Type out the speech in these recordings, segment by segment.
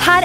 her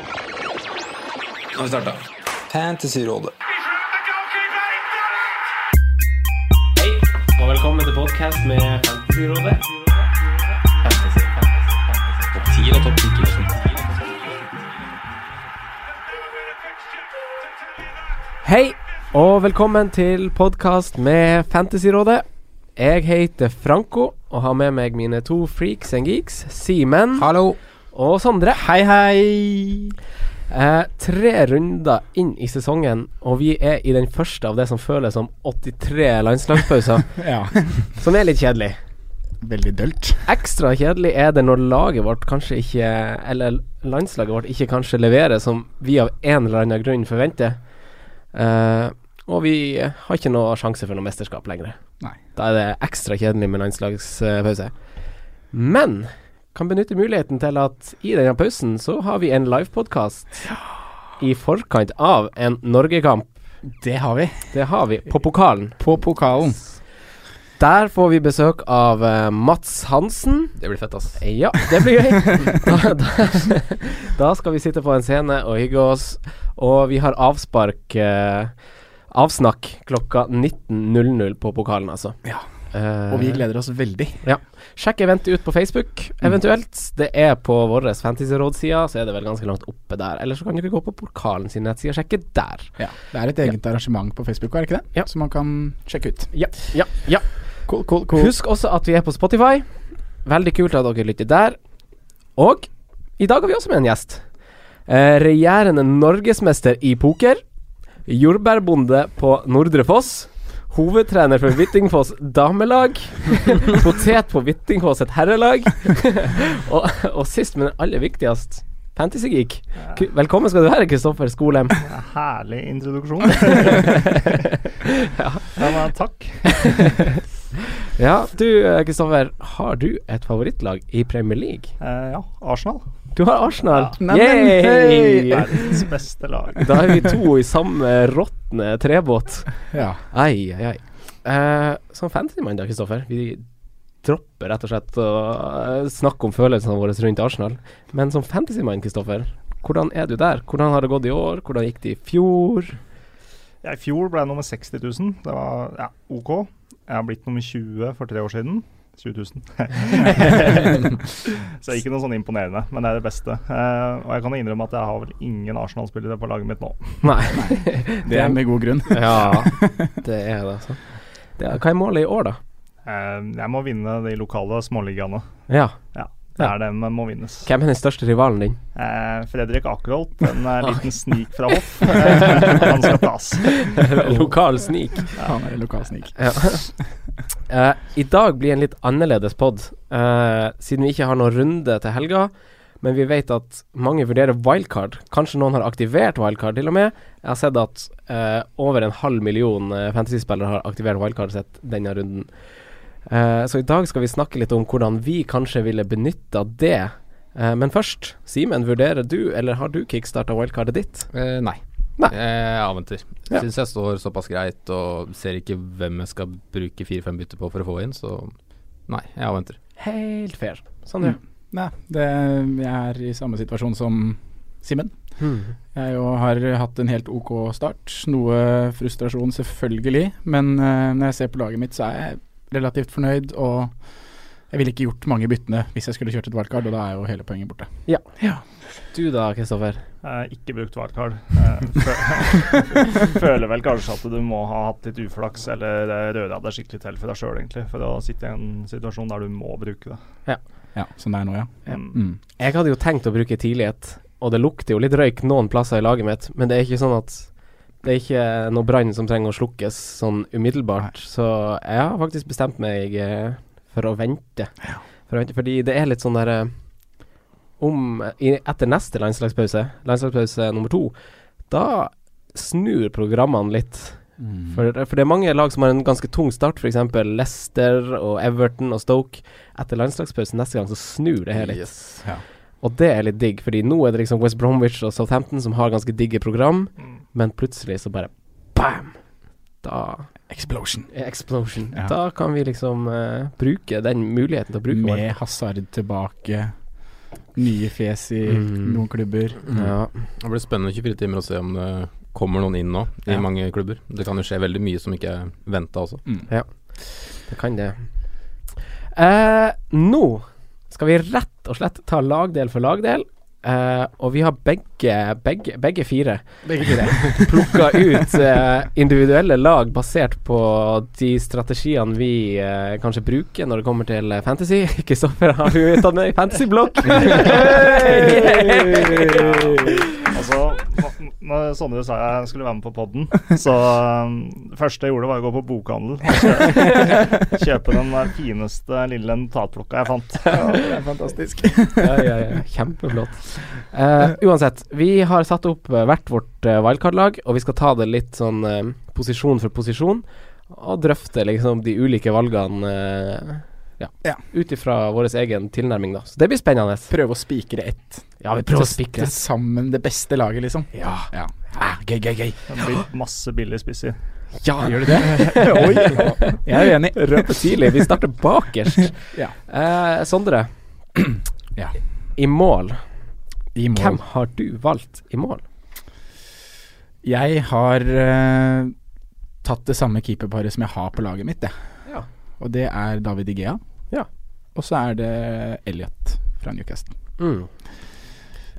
Nå har vi starta. Fantasyrådet. Hei, og velkommen til podcast med Fantasyrådet. Topp 10 og topp 10 Hei, og velkommen til podcast med Fantasyrådet. Jeg heter Franco, og har med meg mine to freaks and geeks, Simen Hallo. og Sondre. Hei, hei. Eh, tre runder inn i sesongen, og vi er i den første av det som føles som 83 landslagspauser. Ja, Som er litt kjedelig. veldig dølt. Ekstra kjedelig er det når laget vårt kanskje ikke Eller landslaget vårt ikke kanskje leverer som vi av en eller annen grunn forventer. Eh, og vi har ikke noe sjanse for noe mesterskap lenger. Nei. Da er det ekstra kjedelig med landslagspause. Men kan benytte muligheten til at i denne pausen så har vi en livepodkast i forkant av en Norgekamp. Det har vi. Det har vi på pokalen. På pokalen. Der får vi besøk av eh, Mats Hansen. Det blir fett, ass. Ja, det blir gøy. Da, da, da skal vi sitte på en scene og hygge oss. Og vi har avspark eh, Avsnakk klokka 19.00 på pokalen, altså. Ja. Eh, Og vi gleder oss veldig. ja. Sjekk eventet ut på Facebook, eventuelt. Det er på vår fantasyrådside, så er det vel ganske langt oppe der. Eller så kan dere gå på pokalen sin nettside og sjekke der. Ja. Det er et eget arrangement på Facebook, er det ikke det? Ja. Som man kan sjekke ut. Ja, ja, ja. Cool, cool, cool. Husk også at vi er på Spotify. Veldig kult at dere lytter der. Og i dag har vi også med en gjest. Eh, regjerende norgesmester i poker. Jordbærbonde på Nordre Foss. Hovedtrener for Hvittingfoss damelag. Potet på Hvittingfoss et herrelag. og, og sist, men aller viktigst, Fantasygeek. Ku- Velkommen skal du være, Kristoffer Skolem. Herlig introduksjon. ja, men takk. Ja, du eh, Kristoffer, har du et favorittlag i Premier League? Eh, ja, Arsenal. Du har Arsenal. Nei, men, Yay! Verdens beste lag. Da er vi to i samme råtne trebåt. Ja. Ai, ai, ai. Eh, som fantasymann da, Kristoffer. Vi dropper rett og slett å eh, snakke om følelsene våre rundt Arsenal. Men som fantasymann, Kristoffer, hvordan er du der? Hvordan har det gått i år? Hvordan gikk det i fjor? Jeg I fjor ble jeg nummer 60 000. Det var ja, OK. Jeg har blitt nummer 20 for tre år siden. 20 000. så ikke noe sånn imponerende, men det er det beste. Eh, og jeg kan innrømme at jeg har vel ingen Arsenal-spillere på laget mitt nå. Nei. Det er med god grunn. Ja, det er det, altså. Det er, hva er målet i år, da? Eh, jeg må vinne de lokale småligaene. Ja. Ja, det er dem må vinnes. Hvem er den største rivalen din? Eh, Fredrik Akerholt, en eh, liten snik fra hoff. Eh, han skal tas. Lokal snik. Han er en lokal snik. Ja. Eh, I dag blir en litt annerledes pod, eh, siden vi ikke har noen runde til helga. Men vi vet at mange vurderer wildcard. Kanskje noen har aktivert wildcard, til og med. Jeg har sett at eh, over en halv million eh, fantasyspillere har aktivert wildcardet sitt denne runden. Eh, så i dag skal vi snakke litt om hvordan vi kanskje ville benytta det. Eh, men først, Simen, vurderer du, eller har du kickstarta wildcardet ditt? Eh, nei. Nei. Eh, jeg avventer. Ja. Syns jeg står såpass greit og ser ikke hvem jeg skal bruke fire-fem bytter på for å få inn, så nei, jeg avventer. Helt fair. Sånn, ja. Nei, det, jeg er i samme situasjon som Simen. Hmm. Jeg jo har hatt en helt ok start. Noe frustrasjon, selvfølgelig. Men eh, når jeg ser på laget mitt, så er jeg relativt fornøyd. Og Jeg ville ikke gjort mange byttene hvis jeg skulle kjørt et wildcard, og da er jo hele poenget borte. Ja. Du da, Kristoffer? Eh, ikke brukt wildcard. Eh, fø- Føler vel kanskje at du må ha hatt litt uflaks eller eh, røra deg skikkelig til for deg sjøl, egentlig, for å sitte i en situasjon der du må bruke det. Ja, sånn det er nå, ja. Mm. Jeg hadde jo tenkt å bruke tidlighet, og det lukter jo litt røyk noen plasser i laget mitt, men det er ikke sånn at det er ikke noe brann som trenger å slukkes sånn umiddelbart. Så jeg har faktisk bestemt meg eh, for å vente. For å vente fordi det er litt sånn derre om i, Etter neste landslagspause, landslagspause nummer to, da snur programmene litt. Mm. For, for det er mange lag som har en ganske tung start, f.eks. Leicester og Everton og Stoke. Etter landslagspausen neste gang så snur det hele litt. Yes. Ja. Og det er litt digg, fordi nå er det liksom West Bromwich og Southampton som har ganske digge program, men plutselig så bare bam! Da Explosion. er explosion. Ja. Da kan vi liksom eh, bruke den muligheten til å bruke Med Hazard tilbake, nye fjes i Mm. noen klubber. vår. Ja. Det blir spennende 24 timer å se om det kommer noen inn nå, i Ja. mange klubber. Det kan jo skje veldig mye som ikke er venta også. Mm. Det kan det. Eh, nå skal vi rett og slett ta lagdel for lagdel. Eh, og vi har begge, begge, begge fire Begge fire. plukka ut eh, individuelle lag basert på de strategiene vi eh, kanskje bruker når det kommer til eh, fantasy. Kristoffer har jo tatt med i fantasyblokk. Altså, nå- når Sondre sa jeg skulle være med på podden, så um, det første jeg gjorde, var å gå på bokhandel og kjø- kjøpe den der fineste lille notatblokka jeg fant. Det er fantastisk. ja, ja, ja. Kjempeflott. Eh, uansett, vi har satt opp eh, hvert vårt eh, wildcard-lag, og vi skal ta det litt sånn eh, posisjon for posisjon, og drøfte liksom de ulike valgene eh, ja, Ja. ut ifra vår egen tilnærming, da. Så det blir spennende. Prøve å spikre ett. Ja, vi prøver å Sette spikre. sammen det beste laget, liksom. Ja. Ja. gøy, gøy, gøy. Det blir masse billig spiss i. Ja, Gjør du det? Oi! Jeg er uenig. røpe tidlig. Vi starter bakerst. Ja. Eh, Sondre. Ja. I mål. I mål. Hvem har du valgt i mål? Jeg har eh, tatt det samme keeperparet som jeg har på laget mitt, jeg. Ja. Og det er David Igea. Ja. Og så er det Elliot fra Newcastle. Mm.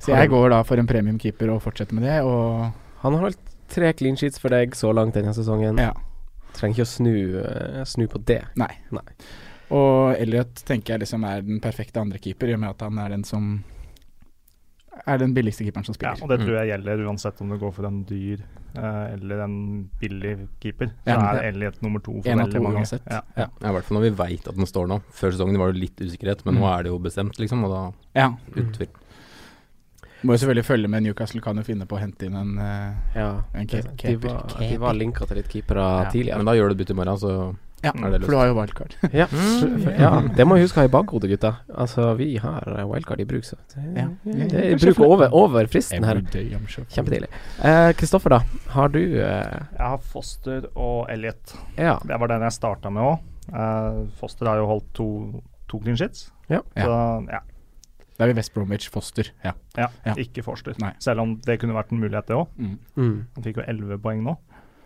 Så jeg går da for en premiumkeeper og fortsetter med det, og Han har holdt tre clean sheets for deg så langt denne sesongen. ja. Trenger ikke å snu, eh, snu på det. Nei. Nei. Og Elliot tenker jeg liksom er den perfekte andrekeeper, i og med at han er den som er den billigste keeperen som Ja, spiller. og det tror jeg gjelder uansett om du går for en dyr eh, eller en billig keeper. Så Ja, er Elliot nummer to for En av veldig to mange. uansett. Ja. Ja, I hvert fall når vi veit at den står nå. Før sesongen var det litt usikkerhet, men nå er det jo bestemt, liksom. Og da Mm. Mm. Ja. utvil. Mm. Må jo selvfølgelig følge med. Newcastle kan jo finne på å hente inn en eh, Ja. En De, ke- de, keeper. var, de var linka til litt keepere Ja. tidligere. Men da gjør du bytte i morgen, så Ja, Er det for du har jo wildcard. Ja. Mm. ja, det må vi huske å ha i bakhodet, gutta. Altså, vi har eh, wildcard i bruk, så det, Ja. det er i bruk over, over fristen her. Everyday, I'm sure. Kjempetidlig. Eh, Kristoffer, da. Har du eh, Jeg har Foster og Elliot. Ja. Det var den jeg starta med òg. Foster har jo holdt to, to clean sheets. Ja. Så ja, Da er vi West Bromwich Foster. Ja. ja, Ja. ikke Foster. Nei. Selv om det kunne vært en mulighet, det òg. Mm. Han fikk jo 11 poeng nå.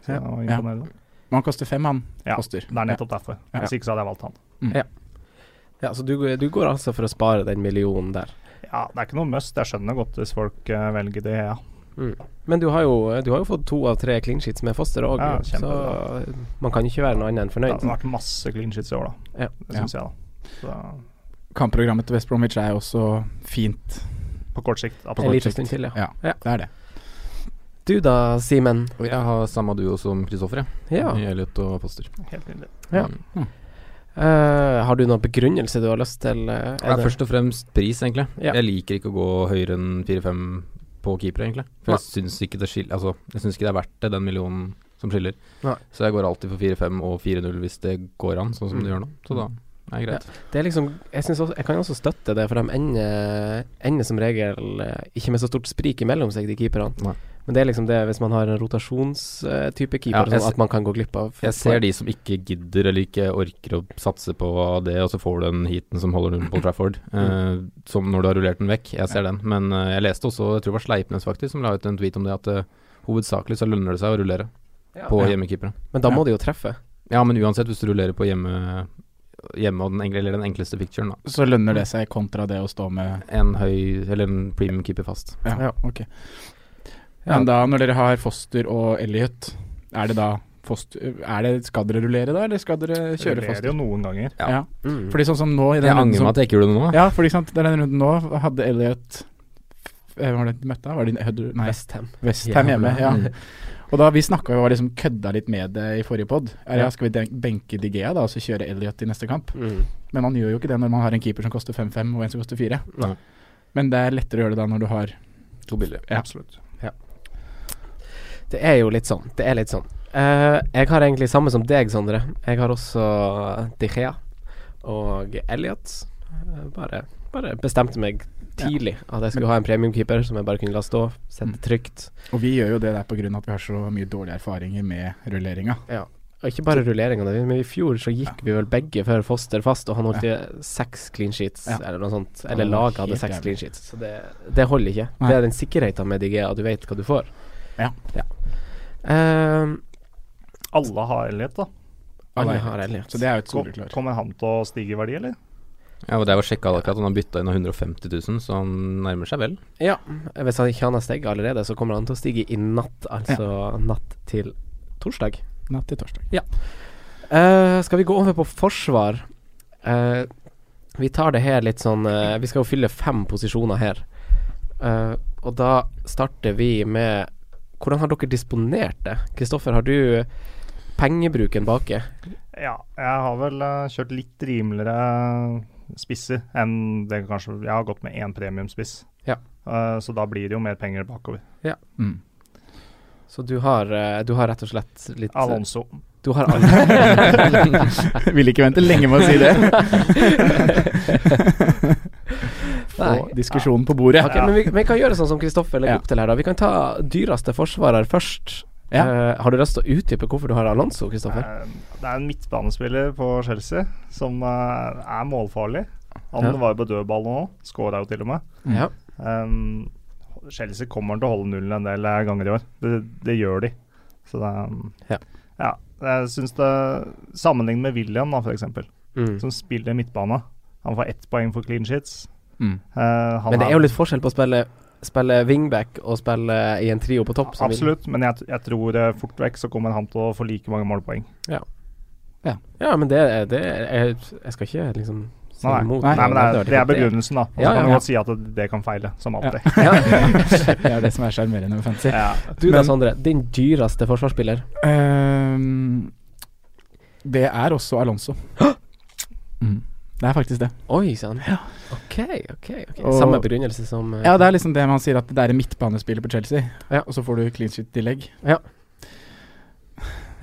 Så Ja. det var Ja. imponerende. Men han koster fem, han. Ja, Foster. Det er nettopp derfor. Ja. Hvis ikke så hadde jeg valgt han. ja, så du, du går altså for å spare den millionen der. Ja, Det er ikke noe must. Jeg skjønner godt hvis folk eh, velger det. Ja. Men du har jo, du har jo fått to av tre clean sheets med Foster òg, Ja, så kjempebra. man kan ikke være noe annet enn Det fornøyd. har vært masse clean sheets i år, da. Ja. Det syns jeg, da. Kampprogrammet til West Bromwich er jo også fint. Så på kort sikt, En absolutt. liten stund til, ja. Ja, Ja. det er det. Du da, Simen. Og jeg har samme duo som Kristoffer, jeg. Ja. Elliot og Foster. Helt nydelig. Ja. Mm. Eh, har du noen begrunnelse du har lyst til? eh, Det er er det- først og fremst pris, egentlig. Ja. Jeg liker ikke å gå høyere enn 4-5 på keepere, egentlig. For jeg syns ikke det skil- Altså, jeg syns ikke det er verdt det, den millionen som skiller. Nei. Så jeg går alltid for 4-5 og 4-0 hvis det går an, sånn som Mm. det gjør nå. Så da er det greit. Det er liksom, jeg, synes også, jeg kan også støtte det, for de ender, ender som regel eh, ikke med så stort sprik imellom seg, de keeperne. Nei. Men det er liksom det hvis man har en rotasjonstype Ja, keeper, jeg sånn se- at man kan gå glipp av Jeg ser de som ikke gidder eller ikke orker å satse på det, og så får du den heaten som holder nullen på Trafford, eh, Mm. som når du har rullert den vekk. Jeg ser den. Men eh, jeg leste også, jeg tror det var Sleipnes faktisk, som la ut en tweet om det, at eh, hovedsakelig så lønner det seg å rullere på Ja. hjemmekeepere. Men da må de jo treffe. Ja, men uansett, hvis du rullerer på hjemme hjemme og den, enkle, eller den enkleste picturen, da. Så lønner det seg kontra det å stå med En høy, eller en premium keeper fast. Ja, ok. Ja. Men da, når dere har Foster og Elliot, er det da foster, er det, Skal dere rullere da, eller skal dere kjøre Rullerer Foster? jo noen ganger. Ja. Mm. Fordi sånn som nå i den Jeg runden angrer som- meg at jeg ikke gjorde det nå. Ja, fordi sant, det er den runden nå hadde Elliot eh, Var det de møtte? Var det, Hudder- nei, Westham. Westham hjemme, Hjemme, ja. mm. Og da vi snakka jo og liksom kødda litt med det i forrige pod. Ja. Ja. Skal vi den- benke De Gea da, og så kjøre Elliot i neste kamp? Mm. Men man gjør jo ikke det når man har en keeper som koster 5-5 og en som koster 4. Nei. Men det er lettere å gjøre det da når du har To bilder. Ja. Absolutt. Det er jo litt sånn. Det er litt sånn. Eh, jeg har egentlig samme som deg, Sondre. Jeg har også De Gea og Elliot. Eh, Bare, bare bestemte meg tidlig at jeg skulle ha en premiumkeeper som jeg bare kunne la stå, sette Mm. trygt. Og vi gjør jo det der på grunn av at vi har så mye dårlige erfaringer med rulleringa. Og ikke bare rulleringene, men i fjor så gikk vi vel begge før Foster fast, og han holdt i seks clean sheets, Ja. eller noe sånt. Ja, Eller det var laget hadde helt seks jævlig. clean sheets. Så det, det holder ikke. Nei. Det er den sikkerheten med De Gea, du vet hva du får. Ja. Eh, Alle har Elliot, da. alle har Elliot. Så det er jo et Kom- soleklar. Kommer han til å stige i verdi, eller? Ja, og det var sjekka akkurat, han har bytta inn av 150 000, så han nærmer seg vel. Ja, hvis han ikke han har steget allerede, så kommer han til å stige i natt, altså natt til torsdag. Natt til torsdag. Eh, skal vi gå over på forsvar? Eh, vi tar det her litt sånn eh, Vi skal jo fylle fem posisjoner her. Eh, og da starter vi med Hvordan har dere disponert det? Kristoffer, har du pengebruken baki? Ja, jeg har vel eh, kjørt litt rimeligere spisser enn det kanskje Jeg har gått med én premiumspiss, Ja. Eh, så da blir det jo mer penger bakover. Mm. Så du har, eh, du har rett og slett litt Alonso. Du har alle. Ville ikke vente lenge med å si det. Få Nei. diskusjonen på bordet. Ok, men vi, vi kan gjøre sånn som Kristoffer legger Ja. opp til her, da. Vi kan ta dyreste forsvarer først. Ja. Eh, har du lyst til å utdype hvorfor du har Alonso, Kristoffer? Eh, Det er en midtbanespiller på Chelsea som eh, er målfarlig. Han Ja. var jo på dødball nå, skåra jo til og med. Mm. Ja. Um, Chelsea kommer til å holde nullen en del eh, ganger i år. Det, det gjør de. Så det er, um, Ja. ja. Jeg syns det Sammenlignet med William, da, f.eks., Mm. som spiller midtbane. Han får ett poeng for clean shits. Mm. Eh, han Men det er jo litt forskjell på å spille, spille wingback og spille i en trio på topp. som vi- Absolutt, men jeg, jeg tror eh, fort vekk så kommer han til å få like mange målpoeng. Ja, men det er, det er Jeg skal ikke liksom si Nei, imot. nei, noe, men det er, hørte det er ikke det. begrunnelsen, da. Og så Ja, ja, kan man ja. godt si at det, det kan feile, som alltid. Det er det som er sjarmerende med fantasy. Ja. Du da, Men- Sondre. Din dyreste forsvarsspiller. Ehm, det er også Alonso. Mm. Det er faktisk det. Oi sann. OK, OK. ok. Og- Samme begrunnelse som eh, Ja, det er liksom det man sier at det er en midtbanespiller på Chelsea, Ja. og så får du clean shit-tillegg. Ja.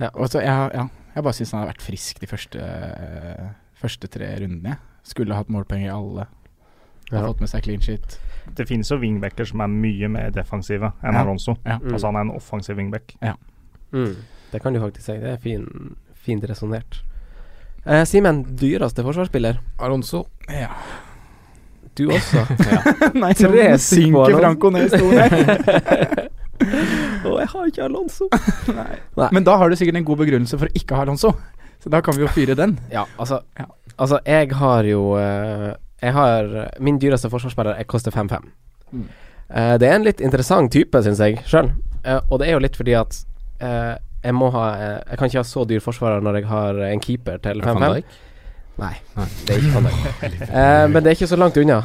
Ja. Og så, ja, ja. Jeg bare syns han har vært frisk de første, eh, første tre rundene. jeg. Skulle hatt målpenger i alle. Har Ja. fått med seg clean shit. Det finnes jo wingbacker som er mye mer defensive enn Ja. Alonso. Ja. Mm. Altså han er en offensiv wingback. Mm, det kan du faktisk si. Det er fin, fint resonnert. Eh, Simen, dyreste forsvarsspiller. Alonso. Ja. Du også. Nei, nå Tre stykker på synker Alonso. Franco ned i stolen her. Å, jeg har ikke Alonso. Nei. Men da har du sikkert en god begrunnelse for å ikke ha Alonso. Så da kan vi jo fyre den. Ja, altså, Ja. altså jeg har jo eh, Jeg har Min dyreste forsvarsspiller jeg koster 5-5. Mm. Eh, det er en litt interessant type, syns jeg sjøl. og det er jo litt fordi at eh, jeg må ha eh, Jeg kan ikke ha så dyr forsvarer når jeg har en keeper til 5-5. Nei, Nei. det er ikke Van Dijk. Eh, men det er ikke så langt unna.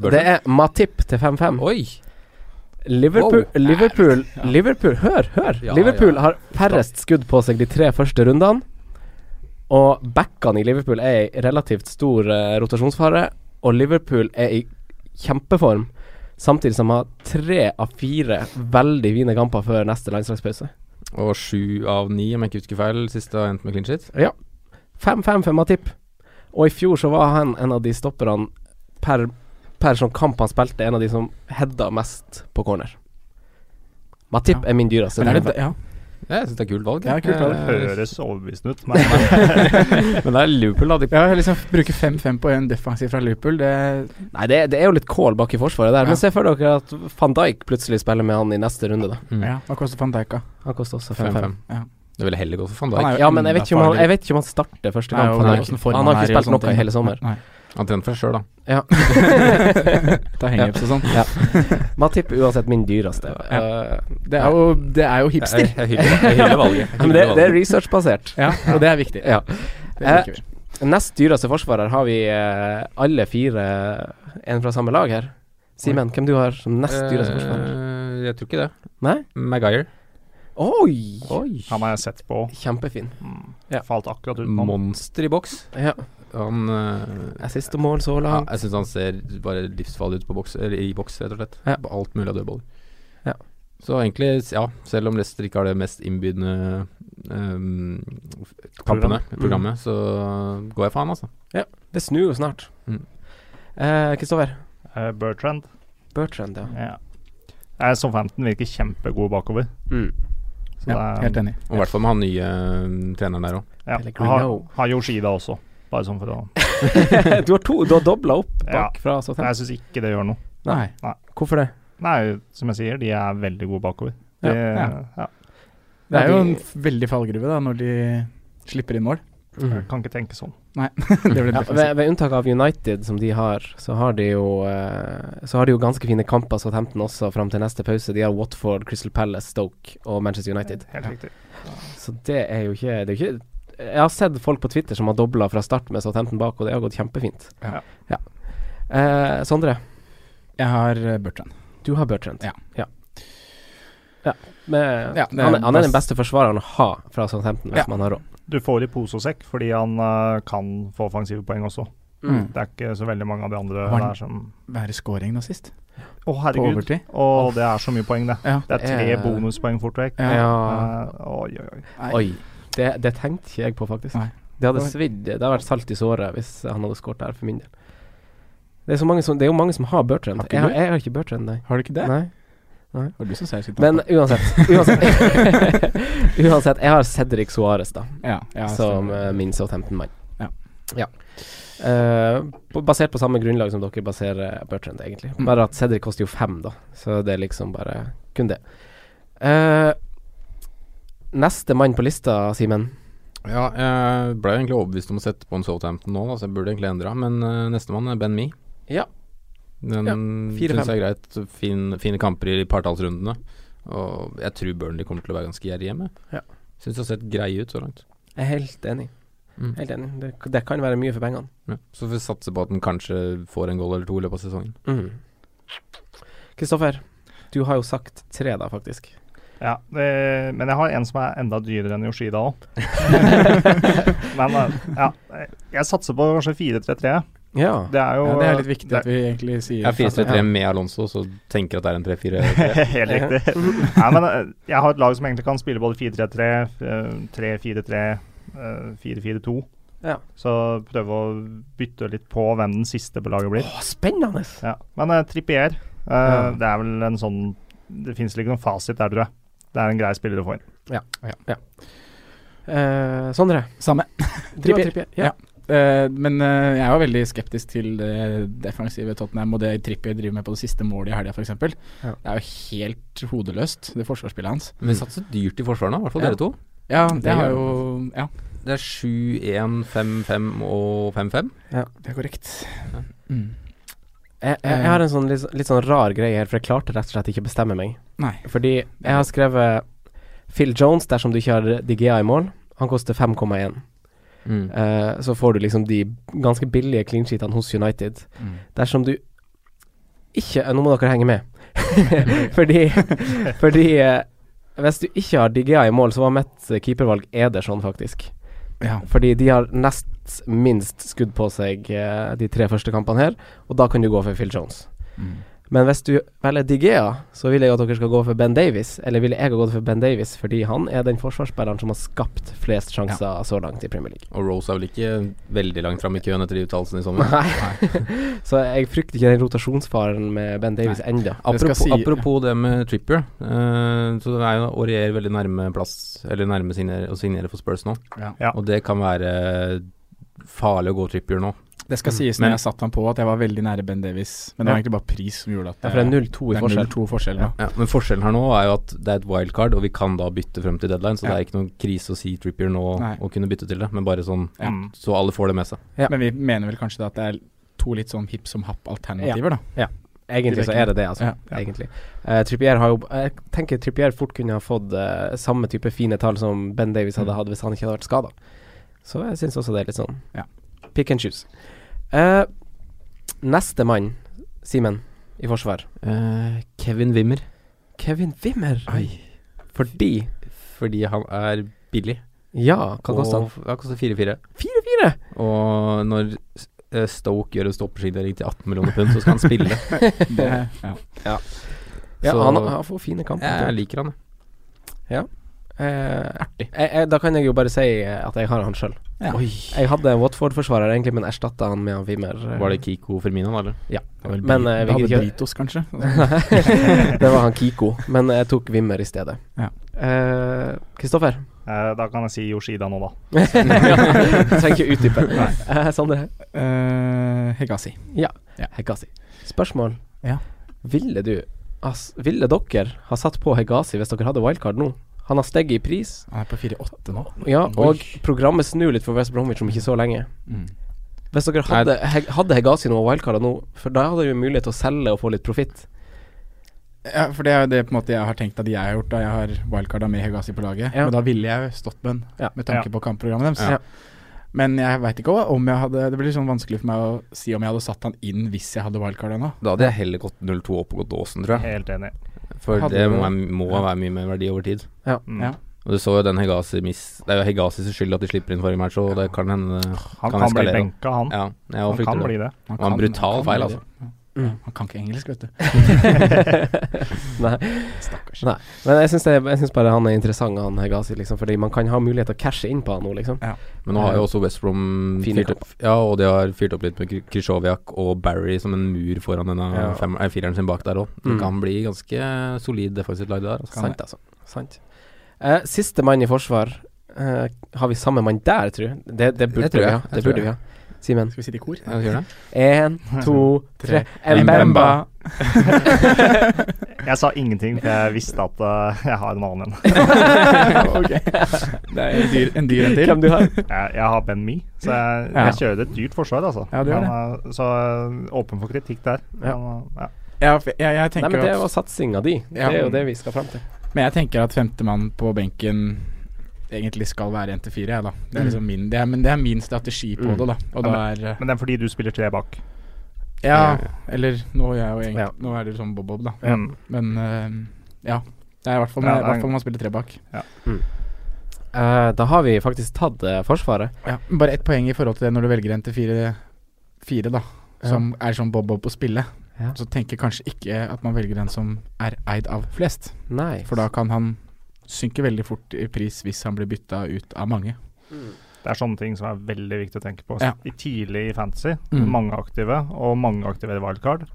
Bør Det er Matip til 5-5. Oi! Liverpool, Wow. Liverpool, Liverpool Hør, hør! Ja, Liverpool ja. har færrest skudd på seg de tre første rundene. Og backene i Liverpool er i relativt stor eh, rotasjonsfare. Og Liverpool er i kjempeform, samtidig som har tre av fire veldig fine kamper før neste landslagspause. Og sju av ni, om jeg ikke husker feil, siste har endt med clean shit. 5-5 for Matip. Og i fjor så var han en av de stopperne per, per sånn kamp han spilte, en av de som heada mest på corner. Matip Ja. er min dyreste. Men er det, ja. Ja, jeg syns det er kult valg. Ja, kult valg. Det Eh, høres overbevisende ut, men Men det er Liverpool, da. De ja, liksom bruke 5-5 på en defensiv fra Liverpool, det Nei, det, det er jo litt kål bak i forsvaret der. Ja. Men se for dere at van Dijk plutselig spiller med han i neste runde, da. Mm. Ja, hva koster van Dijk, da? Han koster også 5-5. 5-5. Det ville heller gått for van Dijk. Ja, men jeg vet, ikke om han, jeg vet ikke om han starter første Nei, kamp. og Han, hvordan han, formen han har er i ikke spilt sånne noe ting. i hele sommer. Nei. Han trener for seg sjøl, da. Ja. Ta hangups og sånn. Ja. Matip er uansett min dyreste. Ja. Eh, Det er jo, det er jo hipster. Jeg- jeg hyller- jeg hyller valget. Jeg hyller Men det- det er valget. researchbasert. ja, og det er viktig. Ja. Det liker Eh, vi. Nest dyreste forsvarer har vi eh, alle fire en fra samme lag her. Simen, hvem du har som nest dyreste forsvarer? Eh, Jeg tror ikke det. Nei? Maguire. Oi! Han har jeg sett på. Kjempefin. Ja. Falt akkurat utenom. Monster i boks. Ja. Han eh, Assist og mål så ja, langt. Jeg syns han ser bare livsfarlig ut på boks, eller i boks, rett og slett. Ja. På alt mulig av dødballer. Ja. Så egentlig, s- ja, selv om Leicester ikke har det mest innbydende um, kampene, Program. programmet, Mm. så går jeg for han, altså. Det snur jo snart. Mm. Eh, Kristoffer. Eh, Bertrand. Bertrand, ja. Ja. Eh, Southampton virker kjempegod bakover. Mm. Så Ja, det er- helt enig. Og i hvert fall med han nye eh, treneren der òg. Ja. Pellegrino. Har, har Yoshida også, bare sånn for å du har to, du har dobla opp bak Ja. fra Nei, Southampton. Jeg syns ikke det gjør noe. Nei. Hvorfor det? Nei, som jeg sier, de er veldig gode bakover. De, Ja, ja. ja. Det er jo Ja, en de- f- veldig fallgruve da når de slipper inn mål. Jeg kan ikke tenke sånn. det blir Ja, defensivt. ved, ved unntak av United, som de har, så har de jo, eh, så har de jo ganske fine kamper, Southampton også, fram til neste pause. De har Watford, Crystal Palace, Stoke og Manchester United. Helt riktig. Så det er jo ikke, det er jo ikke Jeg har sett folk på Twitter som har dobla fra start med Southampton bak, og det har gått kjempefint. Ja. Ja. Eh, Sondre, Jeg har eh, Bertrand. du har Bertrand. Ja. ja. Ja, med, Ja, det er han, er- han er den best- beste forsvareren å ha fra Southampton, hvis Ja. man har råd. Du får i pose og sekk fordi han eh, kan få offensive poeng også. Mm. Det er ikke så veldig mange av de andre Var han- der som Være scoring nå sist, Å, på herregud. overtid. Og det er så mye poeng, det. Ja. Det er tre Eh. bonuspoeng fort vekk. Ja. Eh, oi, oi, oi. Nei. Oi. Det, det tenkte ikke jeg på, faktisk. Nei. Det hadde Oi. svidd. Det hadde vært salt i såret hvis han hadde skåret der, for min del. Det er, så mange som, det er jo mange som har Bertrand. Har ikke jeg, har, du? jeg har ikke Bertrand, nei. Har du ikke det? nei. Var det du som sa jeg skulle ta Men det? uansett. Uansett, uansett jeg har Cedric Suárez, da, ja, ja, som stemmer. eh, min Southampton-mann. Ja. Ja. Eh, på- basert på samme grunnlag som dere baserer eh, Bertrand, egentlig. Mm. Bare at Cedric koster jo fem, da. Så det er liksom bare kun det. Eh, neste mann på lista, Simen. Ja, jeg ble egentlig overbevist om å sette på en Southampton nå, da, så jeg burde egentlig endra, men uh, nestemann er Ben Me. Ja. Den Ja, synes fire-fem. syns jeg er greit. Fin, fine kamper i partallsrundene. Og jeg tror Burnley kommer til å være ganske gjerrige hjemme. Ja. Syns det har sett greie ut så langt. Jeg er helt enig. Mm. Helt enig. Det, det kan være mye for pengene. Ja. Så får vi satse på at den kanskje får en goal eller to i løpet av sesongen. Mm. Kristoffer, du har jo sagt tre da, faktisk. Ja, det, men jeg har en som er enda dyrere enn Yoshida òg. men eh, ja, jeg satser på kanskje 4-3-3. Ja. Det er jo ja, Det er litt viktig det- at vi egentlig sier Jeg er 4-3-3 Ja. med Alonso, så tenker jeg at det er en 3-4-3. Helt riktig. Nei, men eh, jeg har et lag som egentlig kan spille både 4-3-3, eh, 3-4-3, eh, 4-4-2. Ja. Så prøve å bytte litt på hvem den siste på laget blir. Å, spennende! Ja. Men eh, Trippier, eh, Ja. det er vel en sånn Det finnes vel ikke noen fasit der, tror jeg. Det er en grei spiller å få inn. Eh, Sondre, Samme. du har Trippier. trippier. Ja. Eh, men eh, jeg er jo veldig skeptisk til det defensive Tottenham og det Trippier driver med på det siste målet i helga, f.eks. Ja. Det er jo helt hodeløst, det forsvarsspillet hans. Men vi satser dyrt i forsvaret nå, i hvert fall Ja. dere to. Ja, Det det, gjør har jo Ja, Det er 7-1, 5-5 og 5-5. det er korrekt. Ja. Mm. Jeg, jeg, jeg har en sånn litt, litt sånn rar greie her, for jeg klarte rett og slett ikke å bestemme meg. Nei. Fordi jeg har skrevet Phil Jones dersom du ikke har DGA i mål. Han koster 5,1. Mm. Eh, så får du liksom de ganske billige clean sheetene hos United. Mm. Dersom du ikke eh, Nå må dere henge med. fordi fordi eh, hvis du ikke har Digea i mål, så var mitt eh, keepervalg Ederson, faktisk. Ja. Fordi de har nest minst skudd på seg eh, de tre første kampene her, og da kan du gå for Phil Jones. Mm. Men hvis du velger Digea, så vil jeg at dere skal gå for Ben Davies. Eller ville jeg ha gått for Ben Davies, fordi han er den forsvarsspilleren som har skapt flest sjanser så langt i Premier League. Og Rose er vel ikke veldig langt fram i køen etter de uttalelsene i sommer. Nei. så jeg frykter ikke den rotasjonsfaren med Ben Davies ennå. Det skal Apropos, si- apropos det med Trippier, eh, så det er jo Aurier veldig nærme plass, eller nærme signere, å signere for Spurs nå. Ja. Ja. Og det kan være farlig å gå Trippier nå. Det skal sies Men- når jeg satt han på at jeg var veldig nære Ben Davis. Men det var Ja. egentlig bare pris som gjorde at Ja, for det er 0-2 i det er forskjell. 0-2 forskjell. Ja. Ja. men forskjellen her nå er jo at det er et wildcard, og vi kan da bytte frem til deadline, så Ja. det er ikke noen krise å si Trippier nå Nei. og kunne bytte til det, men bare sånn Ja. så alle får det med seg. Men vi mener vel kanskje da at det er to litt sånn hipp som happ-alternativer, da. Ja. Egentlig så er det det, altså. Ja. Egentlig. Eh, Trippier har jo Jeg tenker Trippier fort kunne ha fått eh, samme type fine tall som Ben Davies Mm. hadde hatt hvis han ikke hadde vært skada. Så jeg syns også det er litt sånn Ja. pick and choose. Eh, neste mann, Simen, i forsvar. Eh, Kevin Wimmer, Kevin Wimmer. Fordi fordi han er billig. Ja, hva koster han? og- Ja, koster 4-4. 4-4! Og når eh, Stoke gjør en stoppersignering til 18 millioner pund, så skal han spille. Det, ja. Ja, Så- han, han får fine kamper. Jeg liker han, jeg. Eh, Jeg, jeg, da kan jeg jo bare si eh, at jeg har han sjøl. Ja. Jeg hadde en Watford-forsvarer egentlig, men erstatta han med han Wimmer. eh, Var det Kiko Firmino, eller? Ja. Det var vel Men eh, Da vi hadde gidder ikke Britos kanskje. det var han Kiko, men jeg tok Wimmer i stedet. Ja. Eh, Kristoffer? Eh, da kan jeg si Yoshida nå, da. Trenger ikke utdype. Eh, Sondre? Eh, Hegasi. Hegasi. Spørsmål? Ja. Ville du ass, Ville dere ha satt på Hegasi hvis dere hadde wildcard nå? Han har steget i pris, Han er på 4-8 nå. ja, og Oi. programmet snur litt for West Bromwich om ikke så lenge. Mm. Hvis dere hadde, He- hadde Hegasi nå og wildcarda nå, for da hadde dere jo mulighet til å selge og få litt profitt. Ja, for det er jo det på en måte jeg har tenkt at jeg har gjort da jeg har wildcarda med Hegasi på laget. Ja. Men da ville jeg jo stått med en, Ja. med tanke på kampprogrammet deres. Ja. Men jeg veit ikke om jeg hadde Det blir sånn vanskelig for meg å si om jeg hadde satt han inn hvis jeg hadde wildcarda nå. Da hadde jeg heller gått 0-2 opp og gått Dawson, tror jeg. Helt enig. For Hadde det du- må, være- må være mye mer verdi over tid. Mm. Ja. Og du så jo den Hegasi miss Det er jo Hegasis skyld at de slipper inn forrige match, og det kan hende Kan Han kan, bli eskalere. benka, han. Ja, jeg han også kan frykter bli det. det. Han var en brutal han feil, gjøre altså. det. Ja. Mm. Han kan ikke engelsk, vet du. Nei. Stakkars. Nei, men jeg syns, det, jeg syns bare han er interessant, han Hegasi, liksom, fordi man kan ha mulighet til å cashe inn på han nå, liksom. Men nå har jo også West Brom Fine fyrt opp, ja, og de har fyrt opp litt med Kri- Krychowiak og Barry som en mur foran denne Ja. fem, eh, fireren sin bak der òg. Det Mm. kan bli ganske eh, solid defensivt lag det der. Altså. Sant, altså. Sant. Eh, siste mann i forsvar. Eh, har vi samme mann der, tru? Det, det burde Det tror jeg. vi ha. Jeg Det tror burde vi jeg. ha. Simen. Skal vi sitte i kor? Ja, gjør det. Én, to, tre. Mbemba. Mbemba. Jeg sa ingenting, for jeg visste at eh, jeg har en annen en. ok. Det er en dyr en, dyr en til. Hvem du har? Jeg, jeg har Ben Me, så jeg, Ja. jeg kjører et dyrt forsvar, altså. Ja, du gjør Han er- så eh, åpen for kritikk der. Ja. Han, eh, ja. Ja, for jeg, jeg Nei, tenker men det at var satsinga di. Ja. Det er jo det vi skal fram til. Men jeg tenker at femtemann på benken egentlig skal være 1 til 4, jeg, da. Det er liksom min, det er, men det er min strategi på Mm. det, da. Og da er eh, Men det er fordi du spiller tre bak. Ja, eller nå er jeg jo egentlig Ja. Nå er det sånn bob-bob, da. Mm. Men eh, ja. Det er i hvert fall Ja, det i er- hvert fall når man spiller tre bak. Eh, da har vi faktisk tatt eh, Forsvaret. Ja. men Bare ett poeng i forhold til det når du velger en til fire, fire da, som er sånn bob-bob på spillet. Ja. Så tenker jeg kanskje ikke at man velger en som er eid av flest, Nei. for da kan han synke veldig fort i pris hvis han blir bytta ut av mange. Det er sånne ting som er veldig viktig å tenke på. Ja. I tidlig i fantasy, Mm. mange aktive, og mange aktiverer wildcard.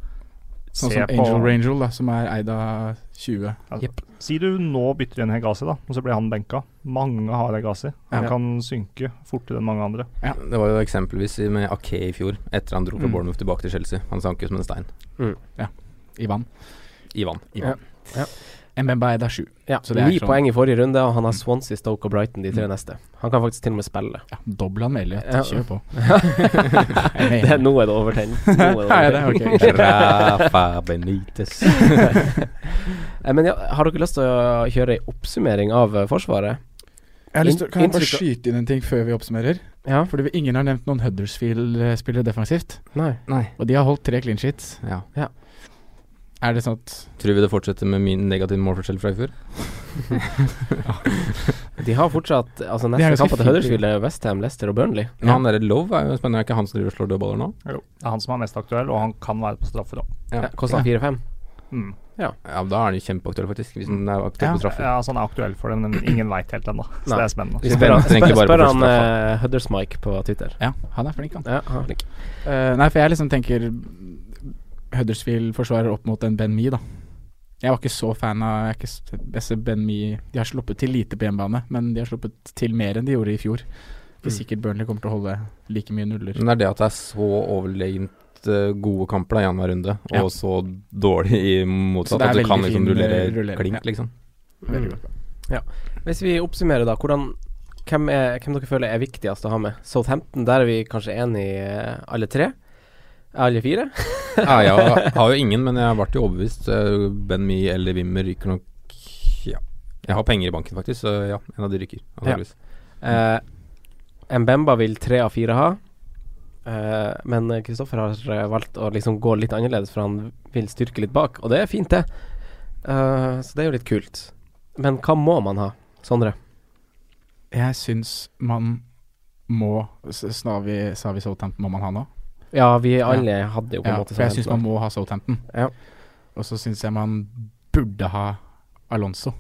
Sånn Se som på- Angel Rangel, da, som er eid av Altså, 20. Si du nå bytter inn Hegasi, da, og så blir han benka. Mange har Hegasi. Han Ja. kan synke fortere enn mange andre. Ja. Det var jo eksempelvis i- med Ake i fjor, etter han dro fra Mm. Bournemouth tilbake til Chelsea. Han sank jo som en stein Ivan. i vann. I Ja. vann. Mbemba er eid av 7. Ja, Så det er Ni sånn- poeng i forrige runde, og han har Swansea, Stoke og Brighton de tre neste. Han kan faktisk til og med spille. Ja, Dobla han veldig. Ja. Kjør på. det, nå er det overtent. Nå er det Er det? overtent. Ok. Rafa Benitez. Eh, Men ja, har dere lyst til å kjøre ei oppsummering av eh, Forsvaret? Jeg har lyst til, kan jeg bare Inntrykk av- skyte inn en ting før vi oppsummerer? Ja. Fordi vi, ingen har nevnt noen Huddersfield-spillere defensivt. Nei. Nei. Og de har holdt tre clean sheets. Ja. Er det sånn at Tror vi det fortsetter med min negative målforskjell fra i fjor? De har fortsatt Altså Det er neste ganske kamp til fint. Huddersfield er Westham, Leicester og Burnley. Men han derre Love er jo spennende, er ikke han som driver og slår dødballer nå? Det er han som er mest aktuell, og han kan være på straffer òg. Ja. Kosta 4-5. Mm. Ja, da er han jo kjempeaktuell, faktisk. Hvis han er aktuell Ja. på straffer. Ja, altså, han er aktuell for det, men ingen veit helt ennå. Så Nei. det er spennende. Vi Så spør, venter spør, egentlig bare på spør han første uh, Huddersmike på Twitter. Ja, han er flink, han. Ja, han er flink. Eh, nei, for jeg liksom tenker Huddersfield forsvarer opp mot en Ben Mee, da. Jeg var ikke så fan av jeg er ikke s- beste Ben Mee De har sluppet til lite på hjemmebane, men de har sluppet til mer enn de gjorde i fjor. Ikke Mm. sikkert Burnley kommer til å holde like mye nuller. Men det er det at det er så overlegent eh, gode kamper da, i annenhver runde, og Ja. så dårlig i Så motsatt, det er at du veldig kan liksom fin, rullere eh, rullering, klink, ja. liksom. Veldig Mm. Ja. Hvis vi oppsummerer, da. Hvordan, hvem, er, hvem dere føler er viktigst å ha med? Southampton, der er vi kanskje enige eh, alle tre? Alle fire? Ja, jeg har jo ingen, men jeg ble jo overbevist. Eh, Ben Mee eller Wimmer ryker nok Ja. Jeg har penger i banken, faktisk, så ja, en av de ryker. Antakeligvis. Eh, Mbemba vil tre av fire ha, eh, men Kristoffer har eh, valgt å liksom gå litt annerledes, for han vil styrke litt bak, og det er fint, det. Eh, så det er jo litt kult. Men hva må man ha, Sondre? Jeg syns man må s- Sa vi, sa vi Southampton må man ha nå? Ja, vi alle hadde jo på en måte sånn For jeg syns Southampton. man må ha Southampton. Og så syns jeg man burde ha Alonso,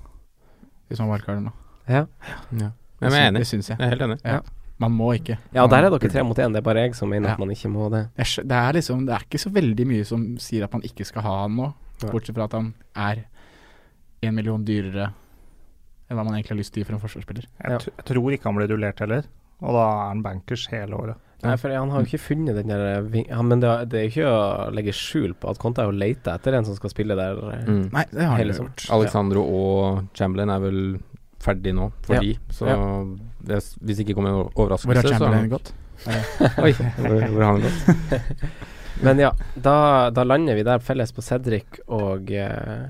hvis man valgkarer nå. Ja. Ja. Men jeg er Det syns- enig. Det syns jeg. Jeg er helt enig. Ja. Ja. Man må ikke. Ja, der er Man dere tre burde. mot én, det er bare jeg som mener at Ja. man ikke må det. Jeg skj- Det er liksom Det er ikke så veldig mye som sier at man ikke skal ha han nå, Nei. bortsett fra at han er en million dyrere enn hva man egentlig har lyst til å gi for en forsvarsspiller. Jeg, tr- jeg tror ikke han blir rullert heller, og da er han bankers hele året. Nei, for han har jo ikke funnet den der eh, ving- ja, Men det er, det er jo ikke å legge skjul på at Conte er jo leita etter en som skal spille der. eh, Mm. Nei, det har han hele jo sommeren. gjort. Alexandro og Chamberlain er vel ferdig nå for Ja. de, så det, hvis det ikke kommer en Hvor har overraskelse, så Chamberlain gått? Oi, hvor, hvor har han gått? Men ja, da, da lander vi der felles på Cedric og eh,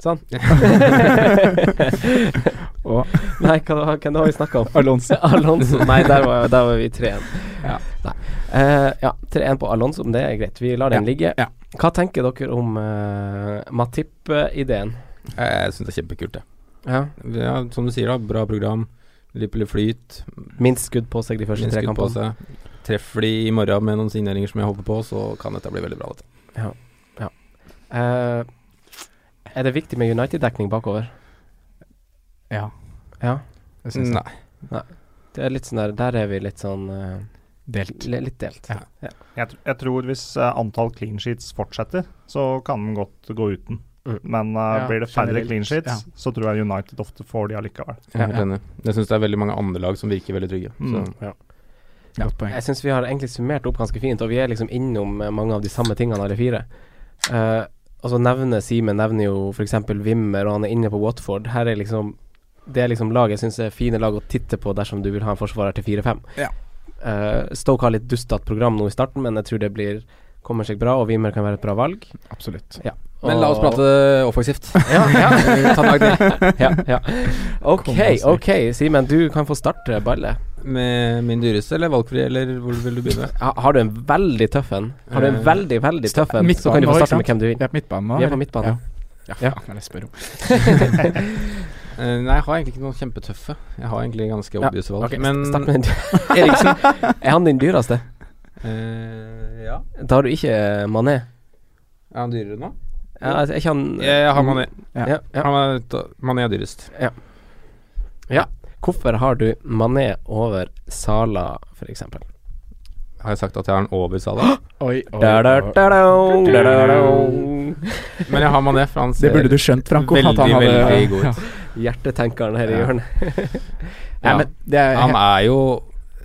Sånn. Og- Nei, hva, da- hvem da har vi snakka om? Alonso. Alonso. Nei, der var, der var vi 3-1. Ja. Nei. Eh, ja, 3-1 på Alonso, men det er greit. Vi lar den ligge. ja. Hva tenker dere om eh, Matip-ideen? Jeg, Eh, jeg syns det er kjempekult, det. Ja. Ja, som du sier, da, bra program. Liverpool i flyt. Minst skudd på seg de første minst tre skudd på kampene. seg. Treffer de i morgen med noen signeringer som jeg håper på, så kan dette bli veldig bra. Dette. Eh, er det viktig med United-dekning bakover? Ja, Ja. det syns jeg. Nei. Det er litt sånn der, der er vi litt sånn eh, Delt. li- Litt delt. Ja. Jeg, tr- jeg tror hvis eh, antall clean sheets fortsetter, så kan den godt gå uten. Mm. Men eh, Ja, blir det færre generelt, clean sheets, ja. så tror jeg United ofte får de allikevel. Jeg er helt enig. Jeg syns det er veldig mange andre lag som virker veldig trygge. Så. Mm. Godt poeng. Jeg syns vi har egentlig summert opp ganske fint, og vi er liksom innom eh, mange av de samme tingene, alle fire. Eh, altså nevner Simen nevner jo f.eks. Wimmer, og han er inne på Watford. Her er liksom Det er liksom lag jeg syns er fine lag å titte på dersom du vil ha en forsvarer til 4-5. Ja. Eh, Stoke har litt dustete program nå i starten, men jeg tror det blir kommer seg bra, og Wimmer kan være et bra valg. Absolutt. Men la oss Og- prate offensivt. Ja, ja. Ta en dag til. ja, ja. Ok, Kom oss vekk. ok, Simen. Du kan få starte ballet. Med min dyreste eller valgfri, eller hvor vil du begynne? Ha- Har du en veldig tøff en, har du en Eh, veldig, veldig tøff en, så kan du nå, få ikke starte med sant? hvem du vil. Vi er på midtbanen nå. Vi er på eller? midtbanen. Ja, Ja. ja. faen, jeg spør om. Eh, nei, jeg har egentlig ikke noen kjempetøffe. Jeg har egentlig ganske Ja, obvious valg. Ok, men start med den dyr- Eriksen. Er han din dyreste? eh, Ja. Da har du ikke eh, Mané. Er han dyrere nå? Ja, altså, er ikke han Jeg har Mané. Ja, ja. Han er, ta- Mané er dyrest. Hvorfor har du Mané over Sala, for eksempel? Har jeg sagt at jeg har han over Salah? Oi, oi, Da, da, oi. da, da, da, da, da. Men jeg har Mané, for han ser Det burde du skjønt, Franco. at veldig, han hadde- veldig god ut. Hjertetenkeren her i Ja. hjørnet. Ja, Ja. men det er, Han er jo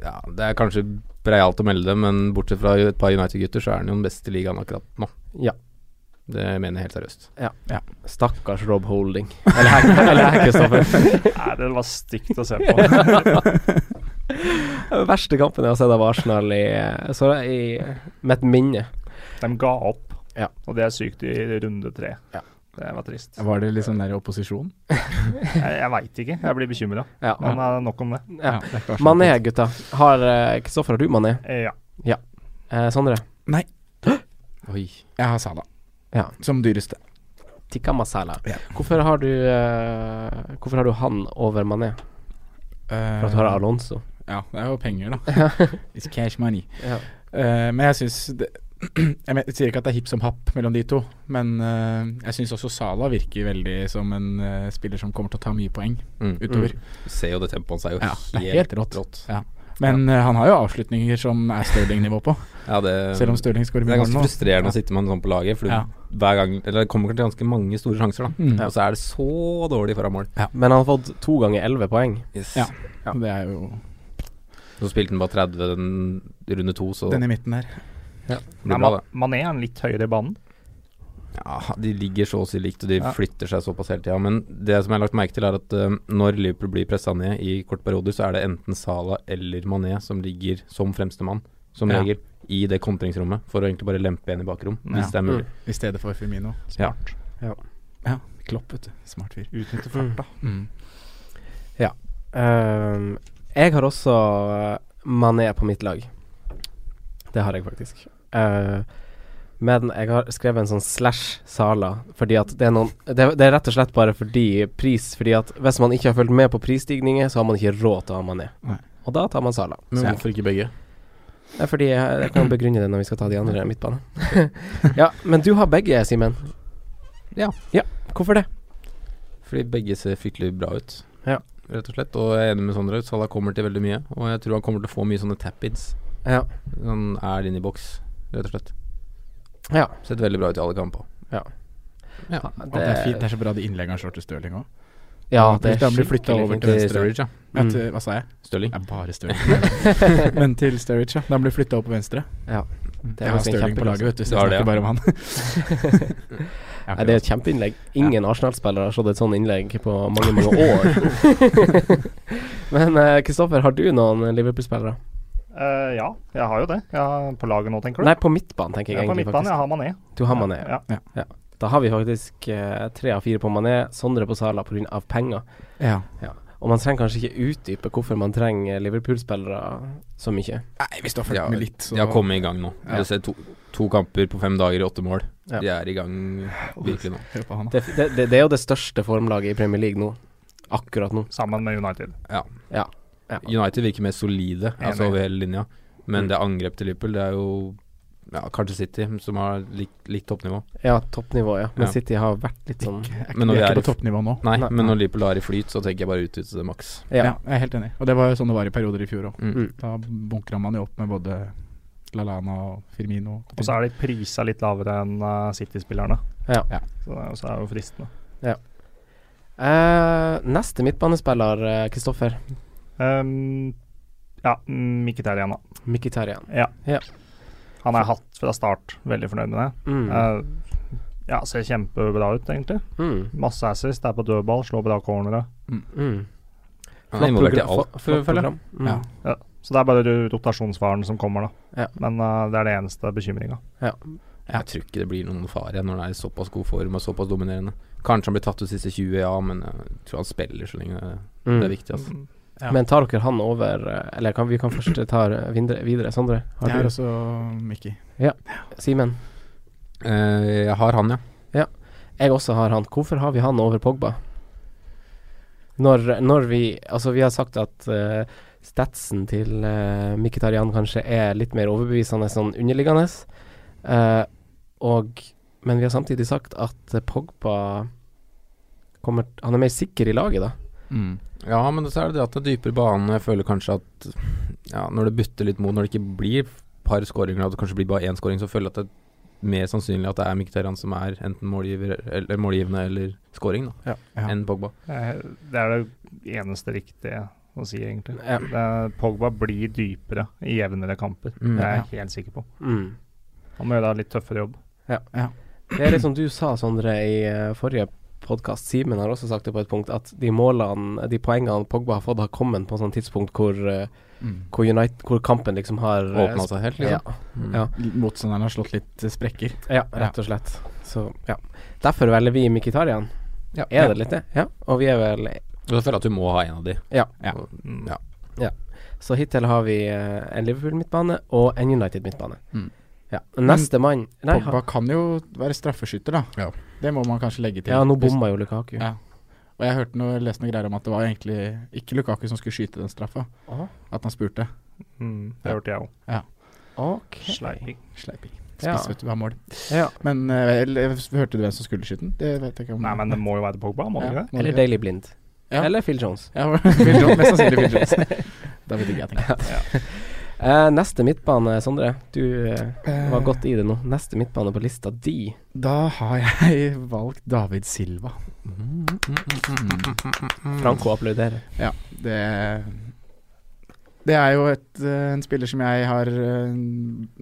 ja, Det er kanskje breialt å melde det, men bortsett fra et par United-gutter, så er han jo den beste i ligaen akkurat nå. Ja. Det mener jeg helt seriøst. Stakkars Rob Holding. Eller her, eller her Kristoffer. Nei, det var stygt å se på. Den verste kampen jeg har sett av Arsenal i, så i mitt minne. De ga opp, Ja. og det er sykt i runde tre. Ja. Det var trist. Var det liksom der i opposisjon? Jeg, jeg veit ikke, jeg blir bekymra. Ja. Men eh, nok om det. Ja. det er ikke Mané, gutta. Har eh, Kristoffer, har du Mané? Eh, Ja. Eh, Sondre? Oi. Jeg har Sala Ja. som dyreste. Tikka Masala. Ja. Hvorfor, har du, eh, hvorfor har du han over Mané? For at Eh. du har Alonso? Ja, det er jo penger, da. It's cash money. Ja. Eh, men jeg syns det- Jeg men- sier ikke at det er hipp som happ mellom de to, men eh, jeg syns også Sala virker veldig som en eh, spiller som kommer til å ta mye poeng Mm. utover. Du ser jo det tempoet hans er jo Ja, det er helt helt rått. Ja. Men eh, han har jo avslutninger som er Stirling-nivå på, Ja, det, selv om Stirling skårer det mye er mål ganske nå. frustrerende Ja. å sitte med han sånn på laget, for du- Ja. hver gang Eller det kommer til ganske mange store sjanser, da. Mm. Og så er det så dårlig foran mål. Men han har fått to ganger elleve poeng. Yes. Ja. Det er jo Så spilte han bare 30 den runde to, så den i midten her. Ja, det Nei, blir bra, det. Mané er litt høyere i banen. Ja, de ligger så å si likt, og de Ja. flytter seg såpass hele tida. Men det som jeg har lagt merke til, er at eh, når Liverpool blir pressa ned i korte perioder, så er det enten Salah eller Mané som ligger som fremste mann, som Ja. regel, i det kontringsrommet, for å egentlig bare lempe igjen i bakrom, Ja. hvis det er mulig. I stedet for Firmino. Ja. Ja, Klopp, vet du. Smart fyr. Utnytte farta. Mm. Ja. Ehm, jeg har også eh, Mané på mitt lag. Det har jeg faktisk. Eh, men jeg har skrevet en sånn slash Sala, fordi at det er noen det, er- det er rett og slett bare fordi pris Fordi at hvis man ikke har fulgt med på prisstigninger, så har man ikke råd til å ha Mané. Nei. Og da tar man Sala. Men Så- hvorfor ikke begge? det er fordi jeg, jeg kan begrunne det når vi skal ta de andre midtbane. ja, men du har begge, Simen. Ja. ja. Hvorfor det? Fordi begge ser fryktelig bra ut, Ja. rett og slett. Og jeg er enig med Sondre, Salah kommer til veldig mye. Og jeg tror han kommer til å få mye sånne tap-ins. Ja. Han er inne i boks, rett og slett. Ja. Sett veldig bra ut i alle kamper. Ja. Ja. Og det er fint, det er så bra de innleggene slår til Stirling òg. Ja, det er han blir flytta skikkelig over fint. til Til venstre. Sturridge, ja. Ja, Mm. til, hva sa jeg? Stirling. Det er bare Stirling. Men til Sturridge, ja. Da han blir flytta over på venstre. Ja. Mm. Det er Jeg har faktisk en Stirling på kjempeklasse. laget, vet du, så Det jeg er det, snakker ja. bare om han. Nei, det er et kjempeinnlegg. Ingen Arsenal-spillere har slått et sånn innlegg på mange, mange år. Men eh, Kristoffer, har du noen Liverpool-spillere? Eh, ja, jeg har jo det. Jeg har på laget nå, tenker du? Nei, på midtbanen, tenker jeg jeg er på egentlig. midtbanen. Jeg har Mané. faktisk. Du har Mané. Ja. Da har vi faktisk eh, tre av fire på Mané, Sondre på Sala pga. penger. Ja. Og man trenger kanskje ikke utdype hvorfor man trenger Liverpool-spillere så mye. Nei, hvis du har fulgt Ja, med litt, så De har kommet i gang nå. Ja. Du ser to, to kamper på fem dager i åtte mål. Ja. De er i gang virkelig nå. Hør på han, da. Det, det, det, det er jo det største formlaget i Premier League nå. Akkurat nå. Sammen med United. Ja. ja. United virker mer solide altså Enig. over hele linja, men Mm. det angrep til Liverpool, det er jo ja, kanskje City, som har likt, likt toppnivå. ja toppnivå, ja. Men Ja. City har vært litt sånn Men når vi vi er er ikke i på toppnivå nå. Nei, Nei. men når Liverpool er i flyt, så tenker jeg bare utnytte det maks. Ja. Ja. jeg er helt enig. Og det var jo sånn det var i perioder i fjor òg. Mm. Mm. Da bunkra man jo opp med både Lalana og Firmino. Og så er de prisa litt lavere enn eh, City-spillerne. Ja. Ja. Så, det er- så er det jo fristende. Eh, neste midtbanespiller, eh, Kristoffer. Um, ja, Mkhitaryan, da. Mkhitaryan. Han er hatt fra start. Veldig fornøyd med det. Mm. Eh, ja, ser kjempebra ut, egentlig. mm. Masse assist, er på dødball, slår bra cornere. Mm. Han er involvert i program- alt. føler jeg. flott program. Mm. Ja. Ja. Så det er bare ro- rotasjonsfaren som kommer, da. Ja. Men eh, det er det eneste bekymringa. Jeg tror ikke det blir noen fare når det er i såpass god form og såpass dominerende. Kanskje han blir tatt ut siste 20, ja, men jeg tror han spiller så lenge det, Mm. det er viktig. Altså. Ja. Men tar dere han over eh, Eller kan, vi kan først ta eh, videre, videre. Sondre, har Jeg er du også Mickey. Simen? Eh, jeg har han, ja. Jeg også har han. Hvorfor har vi han over Pogba? Når, når vi Altså, vi har sagt at eh, statsen til uh, Mkhitaryan kanskje er litt mer overbevisende sånn underliggende, Eh, og Men vi har samtidig sagt at eh, Pogba kommer Han er mer sikker i laget, da. Mm. Ja, men så er det det at det er dypere bane. Jeg føler kanskje at ja, når det butter litt mot, når det ikke blir par skåringer, og det kanskje blir bare én skåring, så føler jeg at det er mer sannsynlig at det er Mkhitaryan som er enten målgiver, eller, målgivende eller scoring, da, Ja. enn Pogba. Det er Eh, det er det eneste riktige å si, egentlig. Ja. Det er, Pogba blir dypere i jevnere kamper. Mm. det er jeg helt sikker på. Mm. Han må gjøre en litt tøffere jobb. Det er litt som du sa, Sondre, i eh, forrige podkast. Simen har også sagt det på et punkt, at de målene, de poengene Pogba har fått, har kommet på et sånt tidspunkt hvor, eh, Mm. hvor, United, hvor kampen liksom har eh, Åpna seg helt, liksom. Ja, Ja. Motstanderen har slått litt eh, sprekker. ja, rett og slett. Så, ja. Derfor velger vi Mkhitaryan. Ja. Er det litt det? Ja. Og vi er vel Og så føler jeg at du må ha en av de. Mm. Ja. Så hittil har vi eh, en Liverpool-midtbane og en United-midtbane. Mm. Ja. Neste mann Nei, Pogba kan jo være straffeskytter, da. Ja. Det må man kanskje legge til. ja, nå bomma jo Lukaku. Ja. Og jeg hørte noe, leste noe greier om at det var egentlig ikke Lukaku som skulle skyte den straffa. Aha. At han spurte. Mm, det hørte jeg òg. Ok. Sleiping. Sleiping. Ja. Spiss, vet du, vi har mål. Ja. Men eh, vel, jeg hørte du hvem som skulle skyte den? Det vet jeg ikke om Nei, men det må jo være Pogba, må det ikke ja. det? Eller Daily Blind. Ja. Eller Phil Jones. Ja, Phil Jones, mest sannsynlig Phil Jones. Da vet ikke jeg, tenker jeg. Eh, neste midtbane, Sondre. Du eh, var godt i det nå. Neste midtbane på lista di. Eh, Da har jeg valgt David Silva. Franco applauderer. Ja, det Det er jo et, eh, en spiller som jeg har eh,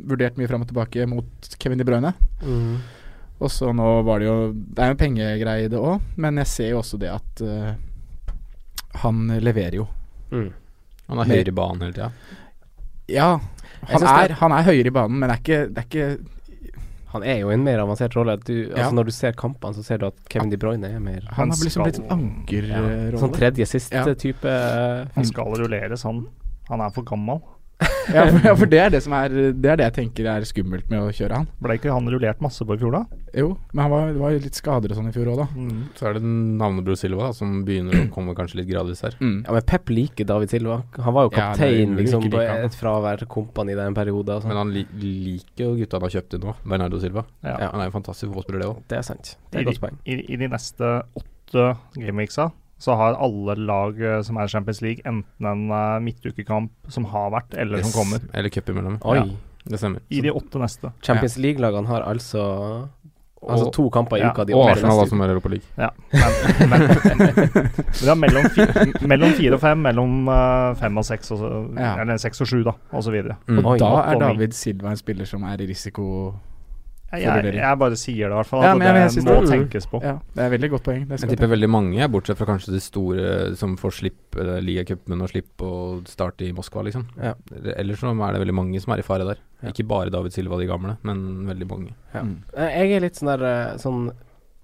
vurdert mye fram og tilbake mot Kevin De Bruyne. Mhm. Og så nå var det jo Det er jo en pengegreie i det òg, men jeg ser jo også det at eh, han leverer jo. Mm. Han er Mer- høyere i banen hele tida. Ja. Jeg Han synes det er, er- han er høyere i banen, men det er ikke, det er ikke Han er jo i en mer avansert rolle. Du, Ja. altså når du ser kampene, så ser du at Kevin De Bruyne er mer Han har liksom skal- blitt en ankerrolle. Sånn tredje siste Ja. type eh, Han skal rulleres, han. Han er for gammel. ja, for, ja, for det er det som er Det er det jeg tenker er skummelt med å kjøre han. Ble ikke han rullert masse på i fjor, da? Jo, men han var, det var jo litt skader og sånn i fjor òg, da. Mm. Så er det navnebror Silva da, som begynner å komme kanskje litt gradvis her. Mm. Ja, men Pep liker David Silva. Han var jo Ja, nei, kaptein vi liksom, liker på ikke han. et fravær kompani der en periode. Og Men sånn. han li liker jo gutta han har kjøpt inn nå, Bernardo Silva. Ja. Han er jo en fantastisk fotballspiller, det òg. det er sant. Det er et I- godt poeng. I, I de neste åtte gameweeksa så har alle lag eh, som er i Champions League, enten en eh, midtukekamp som har vært, eller som kommer. Eller cup imellom. Oi. Ja, det stemmer. I de åtte neste. Champions League-lagene har altså Altså Og- to kamper i ja, uka. De Og åpner Arsenal, da, neste altså. uke. som er Europa League. Ja. Men, men, men da mellom, fi, mellom fire og fem, mellom eh, fem og seks, og så, Ja. eller seks og sju, da, og så videre. Mm. Oi. Da Oppvarming. er David Silva en spiller som er i risiko Jeg, For jeg, rullering. jeg bare sier det, i hvert fall. Ja, at men jeg- det jeg synes må det er- tenkes på. Ja, det er veldig godt poeng. Det Jeg skal tipper veldig mange, bortsett fra kanskje de store som får slipp eh, ligacupen og slipp og start i Moskva, liksom. Ja. Ellers så er det veldig mange som er i fare der. Ja. Ikke bare David Silva og de gamle, men veldig mange. Ja. Mm. Eh, Jeg er litt sånn der eh, sånn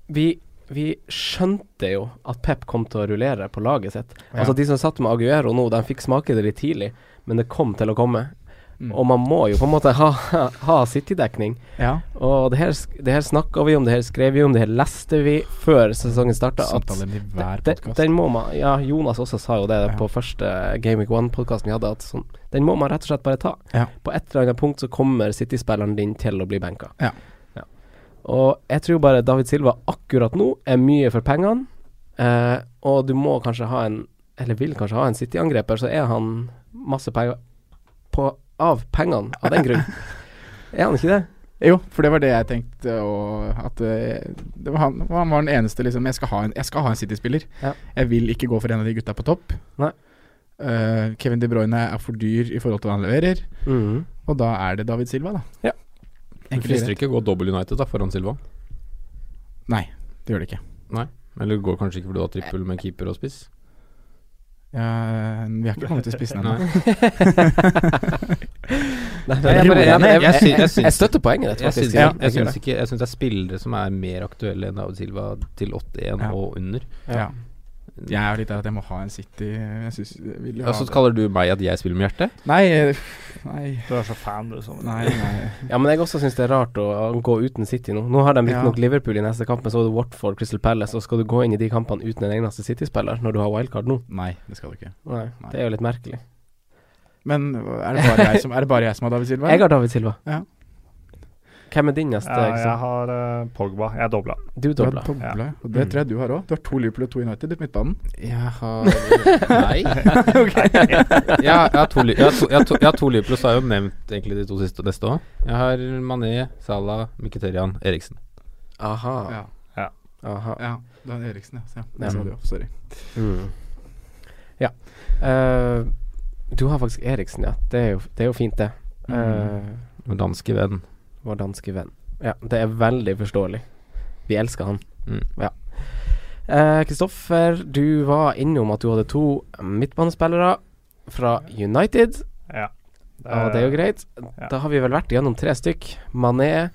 vi, vi skjønte jo at Pep kom til å rullere på laget sitt. Ja. Altså De som satt med Aguero nå, de fikk smake det litt tidlig, men det kom til å komme. Mm. Og man må jo på en måte ha, ha City-dekning. Ja. Og det her, sk- det her snakka vi om, det her skrev vi om, det her leste vi før sesongen starta. Samtalen i hver podkast. Den må man Ja, Jonas også sa jo det Ja. på første Game Week One-podkasten vi hadde, at sånn, den må man rett og slett bare ta. Ja. På et eller annet punkt så kommer City-spilleren din til å bli benka. Ja. Ja. Og jeg tror bare David Silva akkurat nå er mye for pengene, eh, og du må kanskje ha en Eller vil kanskje ha en City-angreper, så er han masse penger på, av pengene av den grunn. er han ikke det? Jo, for det var det jeg tenkte og at eh, det var han, han var den eneste liksom Jeg skal ha en, jeg skal ha en City-spiller. Ja. Jeg vil ikke gå for en av de gutta på topp. Nei. Eh, Kevin De Bruyne er for dyr i forhold til hva han leverer, Mm. og da er det David Silva, da. Ja. Du Enkelt og frister greit. ikke å gå dobbel United da foran Silva? Nei, det gjør det ikke. Eller går kanskje ikke fordi du har trippel med keeper og spiss? Ja, vi har ikke kommet til spissen ennå. Nei. Nei, Nei, jeg bare- jeg- jeg- jeg- jeg- jeg- jeg støtter poenget ditt, Jeg syns jeg, faktisk. Ja, jeg gjør syns ikke Jeg syns det er spillere som er mer aktuelle enn David Silva til 8-1 Ja. og under. Mm. Ja. Jeg er jo litt der at jeg må ha en City Jeg synes, jeg vil jo Ja, ha så det. kaller du meg at jeg spiller med hjertet? Nei, eh, nei, Du er så fan, du. Som, nei, nei. Ja, men jeg også syns det er rart å å gå uten City nå. Nå har de riktignok nok Liverpool i neste kamp, men så er det Watford, Crystal Palace, og skal du gå inn i de kampene uten en eneste City-spiller når du har wildcard nå? Nei, det skal du ikke. Nei, Nei. det er jo litt merkelig. Men er det bare jeg som, er det bare jeg som har David Silva? Jeg har David Silva. Ja. Hvem er din neste? Ja, jeg liksom? har eh, Pogba. Jeg dobla. Du Du har dobla. dobla, ja. Og det tror jeg du har òg. Du har to Liverpool og to United på midtbanen. Mm. Jeg har Nei. jeg, har- jeg har to, li- jeg har to, jeg har to, jeg har to Liverpool, så har jeg jo nevnt egentlig de to siste neste òg. Jeg har Mané, Salah, Mkhitaryan, Eriksen. Aha. Ja. Aha. ja. Da er det Eriksen, ja. Så ja. Ja. Det sa du jo. Sorry. Mm. Ja. Eh, du har faktisk Eriksen, ja. Det er jo, det er jo fint, det. Eh, Vår danske venn. vår danske venn. Ja, det er veldig forståelig. Vi elsker han. Mm. Ja. Eh, Kristoffer, du var innom at du hadde to midtbanespillere fra United, Ja. og det er jo greit. Eh, ja. Da har vi vel vært igjennom tre stykk. Mané,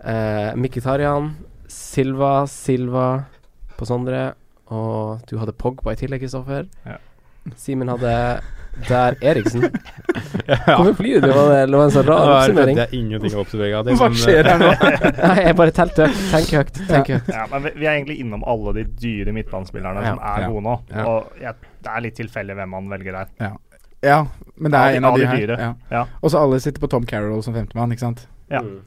eh, Mkhitaryan, Silva, Silva på Sondre, og du hadde Pogba i tillegg, Kristoffer. Ja. Simen hadde der Eriksen. Hvorfor flirer du? av Det Det var en så rar oppsummering. er eh, ingenting å oppsummere av. Hva skjer her nå? Nei, jeg bare telte høyt. Tenk høyt. Tenk høyt. Eh, Ja, men vi, vi er egentlig innom alle de dyre midtbanespillerne som Ja, er ja, gode nå. ja. Og jeg, det er litt tilfeldig hvem man velger der. Ja, men det Av er de- en av av de de her. dyre. Ja. Ja. Og så alle sitter på Tom Carroll som femtemann, ikke sant. Ja. Mm.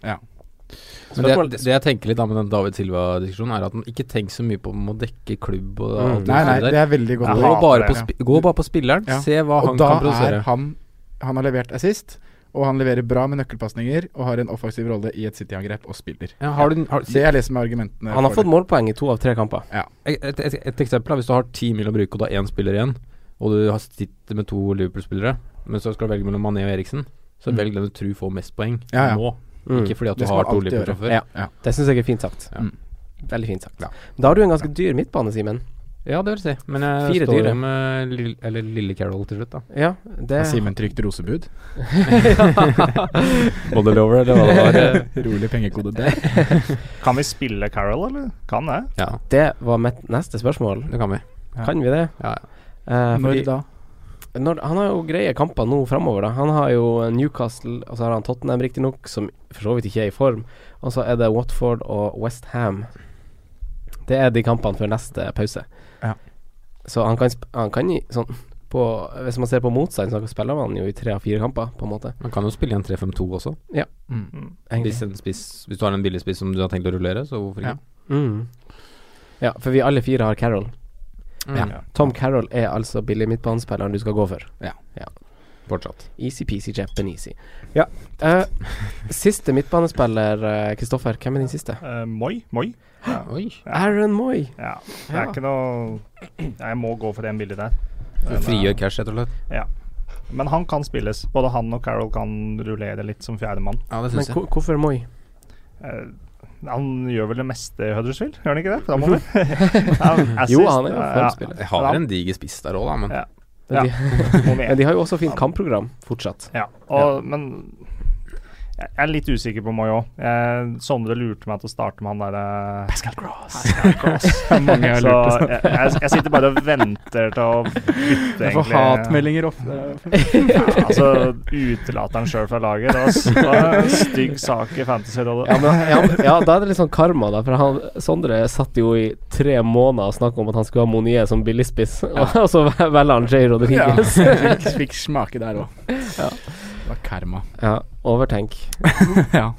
Men det, det det jeg tenker litt da med den David Silva-diskusjonen, er at han ikke tenker så mye på om å dekke klubb og Mm. alt det Nei, nei, der. det er veldig Jeg godt. Gå hater bare, på det. spi gå bare på spilleren, Ja. se hva Og han da kan er produsere. han Han har levert assist, og han leverer bra med nøkkelpasninger, og har en offensiv rolle i et City-angrep, og spiller. Ja, har du, har, Det er det som er argumentene. Han har for fått målpoeng i to av tre kamper. et, et, et, et eksempel er hvis du har ti mil å bruke og du har én spiller igjen, og du har sitter med to Liverpool-spillere, men så skal du velge mellom Mané og Eriksen, så velg den du tror får mest poeng Mm. Ja, ja. nå. Mm. Ikke fordi at du Det har skal man to alltid Liverpool fra gjøre. før. Ja. Det syns jeg er fint sagt. Mm. Ja. Veldig fint sagt. Da har du en ganske dyr midtbane, Simen. Ja, det vil si. Men jeg Fire står dyre. jo med Lill, eller Lille Carol til slutt, da. Ja, det Har Simen trykt rosebud? Body lover, eller hva det var. Rolig pengekode der. Kan vi spille Carol, eller? Kan det? Ja, Det var mitt neste spørsmål. det kan vi. Kan vi det? Ja, Eh, fordi- Når da? Når, han har jo greie kamper nå framover, da. Han har jo Newcastle, og så har han Tottenham riktignok, som for så vidt ikke er i form. Og så er det Watford og West Ham. Det er de kampene før neste pause. Ja. Så han kan, sp- han kan gi sånn på, Hvis man ser på motstand, så spiller man jo i tre av fire kamper, på en måte. Man kan jo spille i en 3-5-2 også. Hvis, Mm. Egentlig. en spiss, hvis du har en billig spiss som du har tenkt å rullere, så hvorfor ikke? Mm. Ja, for vi alle fire har Carroll. Mm. Ja. Tom Carroll er altså billig midtbanespilleren du skal gå for. Fortsatt. Easy-peasy Japanesey. Ja. eh, siste midtbanespiller, eh, Kristoffer. hvem er din siste? Eh, moi? Moi? Oi. Aaron Moy. Ja. Det Ja. er ikke noe Jeg må gå for den bildet der. Du frigjør cash, rett og slett. Men han kan spilles. Både han og Carol kan rullere litt som fjerdemann. Ja, det Men syns jeg. hvor- hvorfor Moy? Eh, han gjør vel det meste i Huddersfield, gjør han ikke det? Framover. Ja, assist, Jo, han er jo eh, formspiller. Jeg har vel en diger spiss der òg, da, men Ja. Men, Ja. de, ja, må men med. de har jo også fint kampprogram fortsatt. Ja, og, men jeg er litt usikker på Moi òg. Sondre lurte meg til å starte med han derre Pascal Cross. Mange har Så lurt jeg, jeg, jeg sitter bare og venter til å bytte, egentlig. Jeg får hatmeldinger ofte. Ja, altså, utelater han sjøl fra laget. Det var, s- det var en stygg sak i Fantasyrådet. Ja, men, ja, men- ja, da er det litt sånn karma, da. For han, Sondre satt jo i tre måneder og snakka om at han skulle ha Monier som billigspiss, og, og så velger han Jay Rodriguez. Ja. Fikk, fikk smake der òg. Det var karma. overtenk. Ja.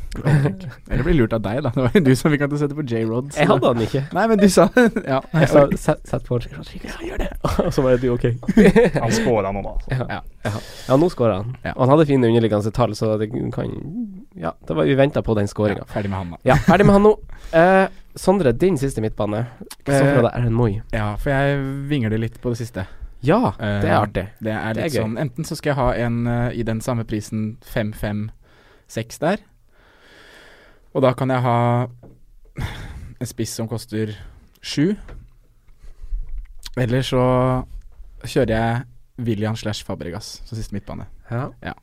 Eller blir lurt av deg, da. Det var jo du som fikk han til å sette på J-Rod. så- Jeg hadde han ikke. Nei, men du sa Ja. Jeg sa sett, sett på Rodriguez, ja, gjør det. Og så var det du, OK. Han scora nå, da. Ja, nå skåra han. Ja. Og han hadde fine underliggende tall, så det kan Ja, det var, vi venta på den Ja, skåringa. ferdig med han, da. Ja. ferdig med han nå. Eh, Sondre, din siste midtbane. Eh, Kristoffer hadde Erlend Moy. Ja, for jeg vingler litt på det siste. Ja, Eh, det er artig. Det er Det er litt gøy. sånn Enten så skal jeg ha en eh, i den samme prisen 5-5-6 der. Og da kan jeg ha en spiss som koster 7. Eller så kjører jeg William slash Fabregas som siste midtbane. Ja.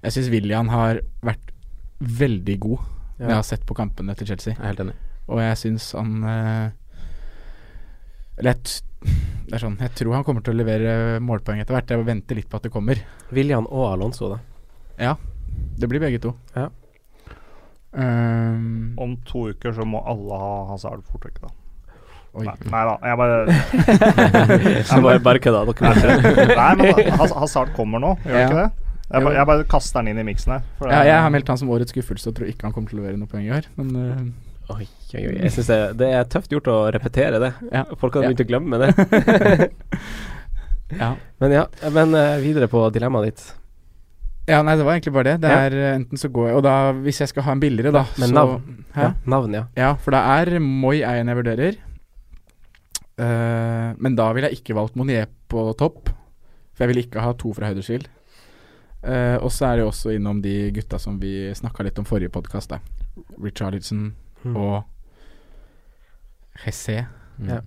Jeg syns William har vært veldig god Ja. når jeg har sett på kampene til Chelsea. jeg er helt enig. Og jeg syns han eh, Eller jeg, t det er sånn, jeg tror han kommer til å levere målpoeng etter hvert. Jeg venter litt på at det kommer. William og Alonso, da. Det blir begge to. Ja. Ehm, Om to uker så må alle ha Hazard fort vekk, da. oi. Nei, nei da, jeg bare Så bare bare kødda. Dere må Nei, men Haz- Hazard kommer nå, gjør han Ja. ikke det? Jeg, ba, Jo. jeg bare kaster den inn i miksen her. for det- Ja, jeg har meldt han som årets skuffelse og tror ikke han kommer til å levere noe poeng i år. Men eh, Oi, oi, oi. Jeg syns det, det er tøft gjort å repetere det. Ja. Folk har Ja. begynt å glemme det. ja. men ja, men eh, videre på dilemmaet ditt. ja, nei, det var egentlig bare det. Det Ja. er eh, enten så går jeg Og da, hvis jeg skal ha en billigere, da Men så, navn. Hæ? Ja, navn, ja. Ja, for det er Moi er en jeg vurderer. Eh, men da ville jeg ikke valgt Monier på topp. For jeg ville ikke ha to fra Huddersfield. Eh, og så er det jo også innom de gutta som vi snakka litt om forrige podkast. Richarlison Mm. og Hesse. Mm. Ja.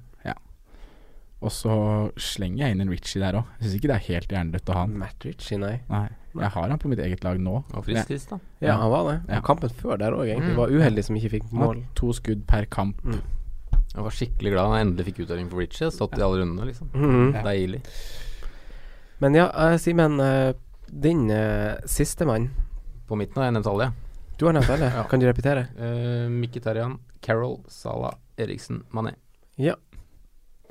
Og så slenger jeg inn en Richie der òg. Syns ikke det er helt hjernedødt å ha han. Matt Ritchie, nei. Nei. Jeg har han på mitt eget lag nå. Og frisk sist, da. Ja, han var det. Ja. Og kampen før der òg, egentlig. Mm. Var uheldig som ikke fikk Han har mål. to skudd per kamp. Jeg var skikkelig glad da jeg endelig fikk utdeling for Ritchie. Stått i alle rundene, liksom. Mhm. Deilig. Men ja, eh, Simen. eh, din uh, sistemann. På midten har jeg nevnt alle, jeg. Du har nevnt alle. Kan du repetere? Eh, Mkhitaryan, Carol, Salah, Eriksen, Mané. Ja.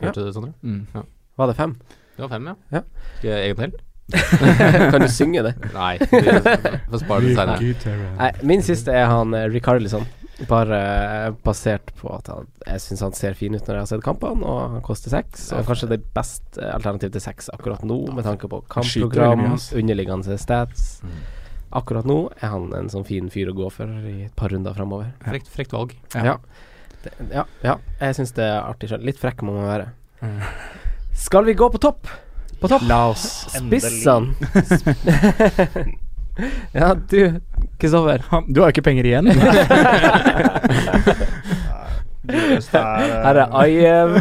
Hørte du det, Sondre? Mm. Var det fem? Det var fem, ja. Ja. Skal jeg egen til? kan du synge det? Nei, vi får spare det senere. Nei, min siste er han eh, Ricarlison. Bare eh, basert på at han, jeg syns han ser fin ut når jeg har sett kampene, og han koster seks. Og kanskje det beste eh, alternativet til seks akkurat nå, med tanke på skyter veldig kampprogram, mye, ass. Mm. underliggende stats. Akkurat nå er han en sånn fin fyr å gå for i et par runder framover. Frekt, frekt valg. Ja. Ja. Det, ja, ja. Jeg syns det er artig sjøl. Litt frekk må man være. Skal vi gå på topp? På topp. Mm. La oss. Spissene. ja, du, Kristoffer. Du har jo ikke penger igjen. Her er Ayev.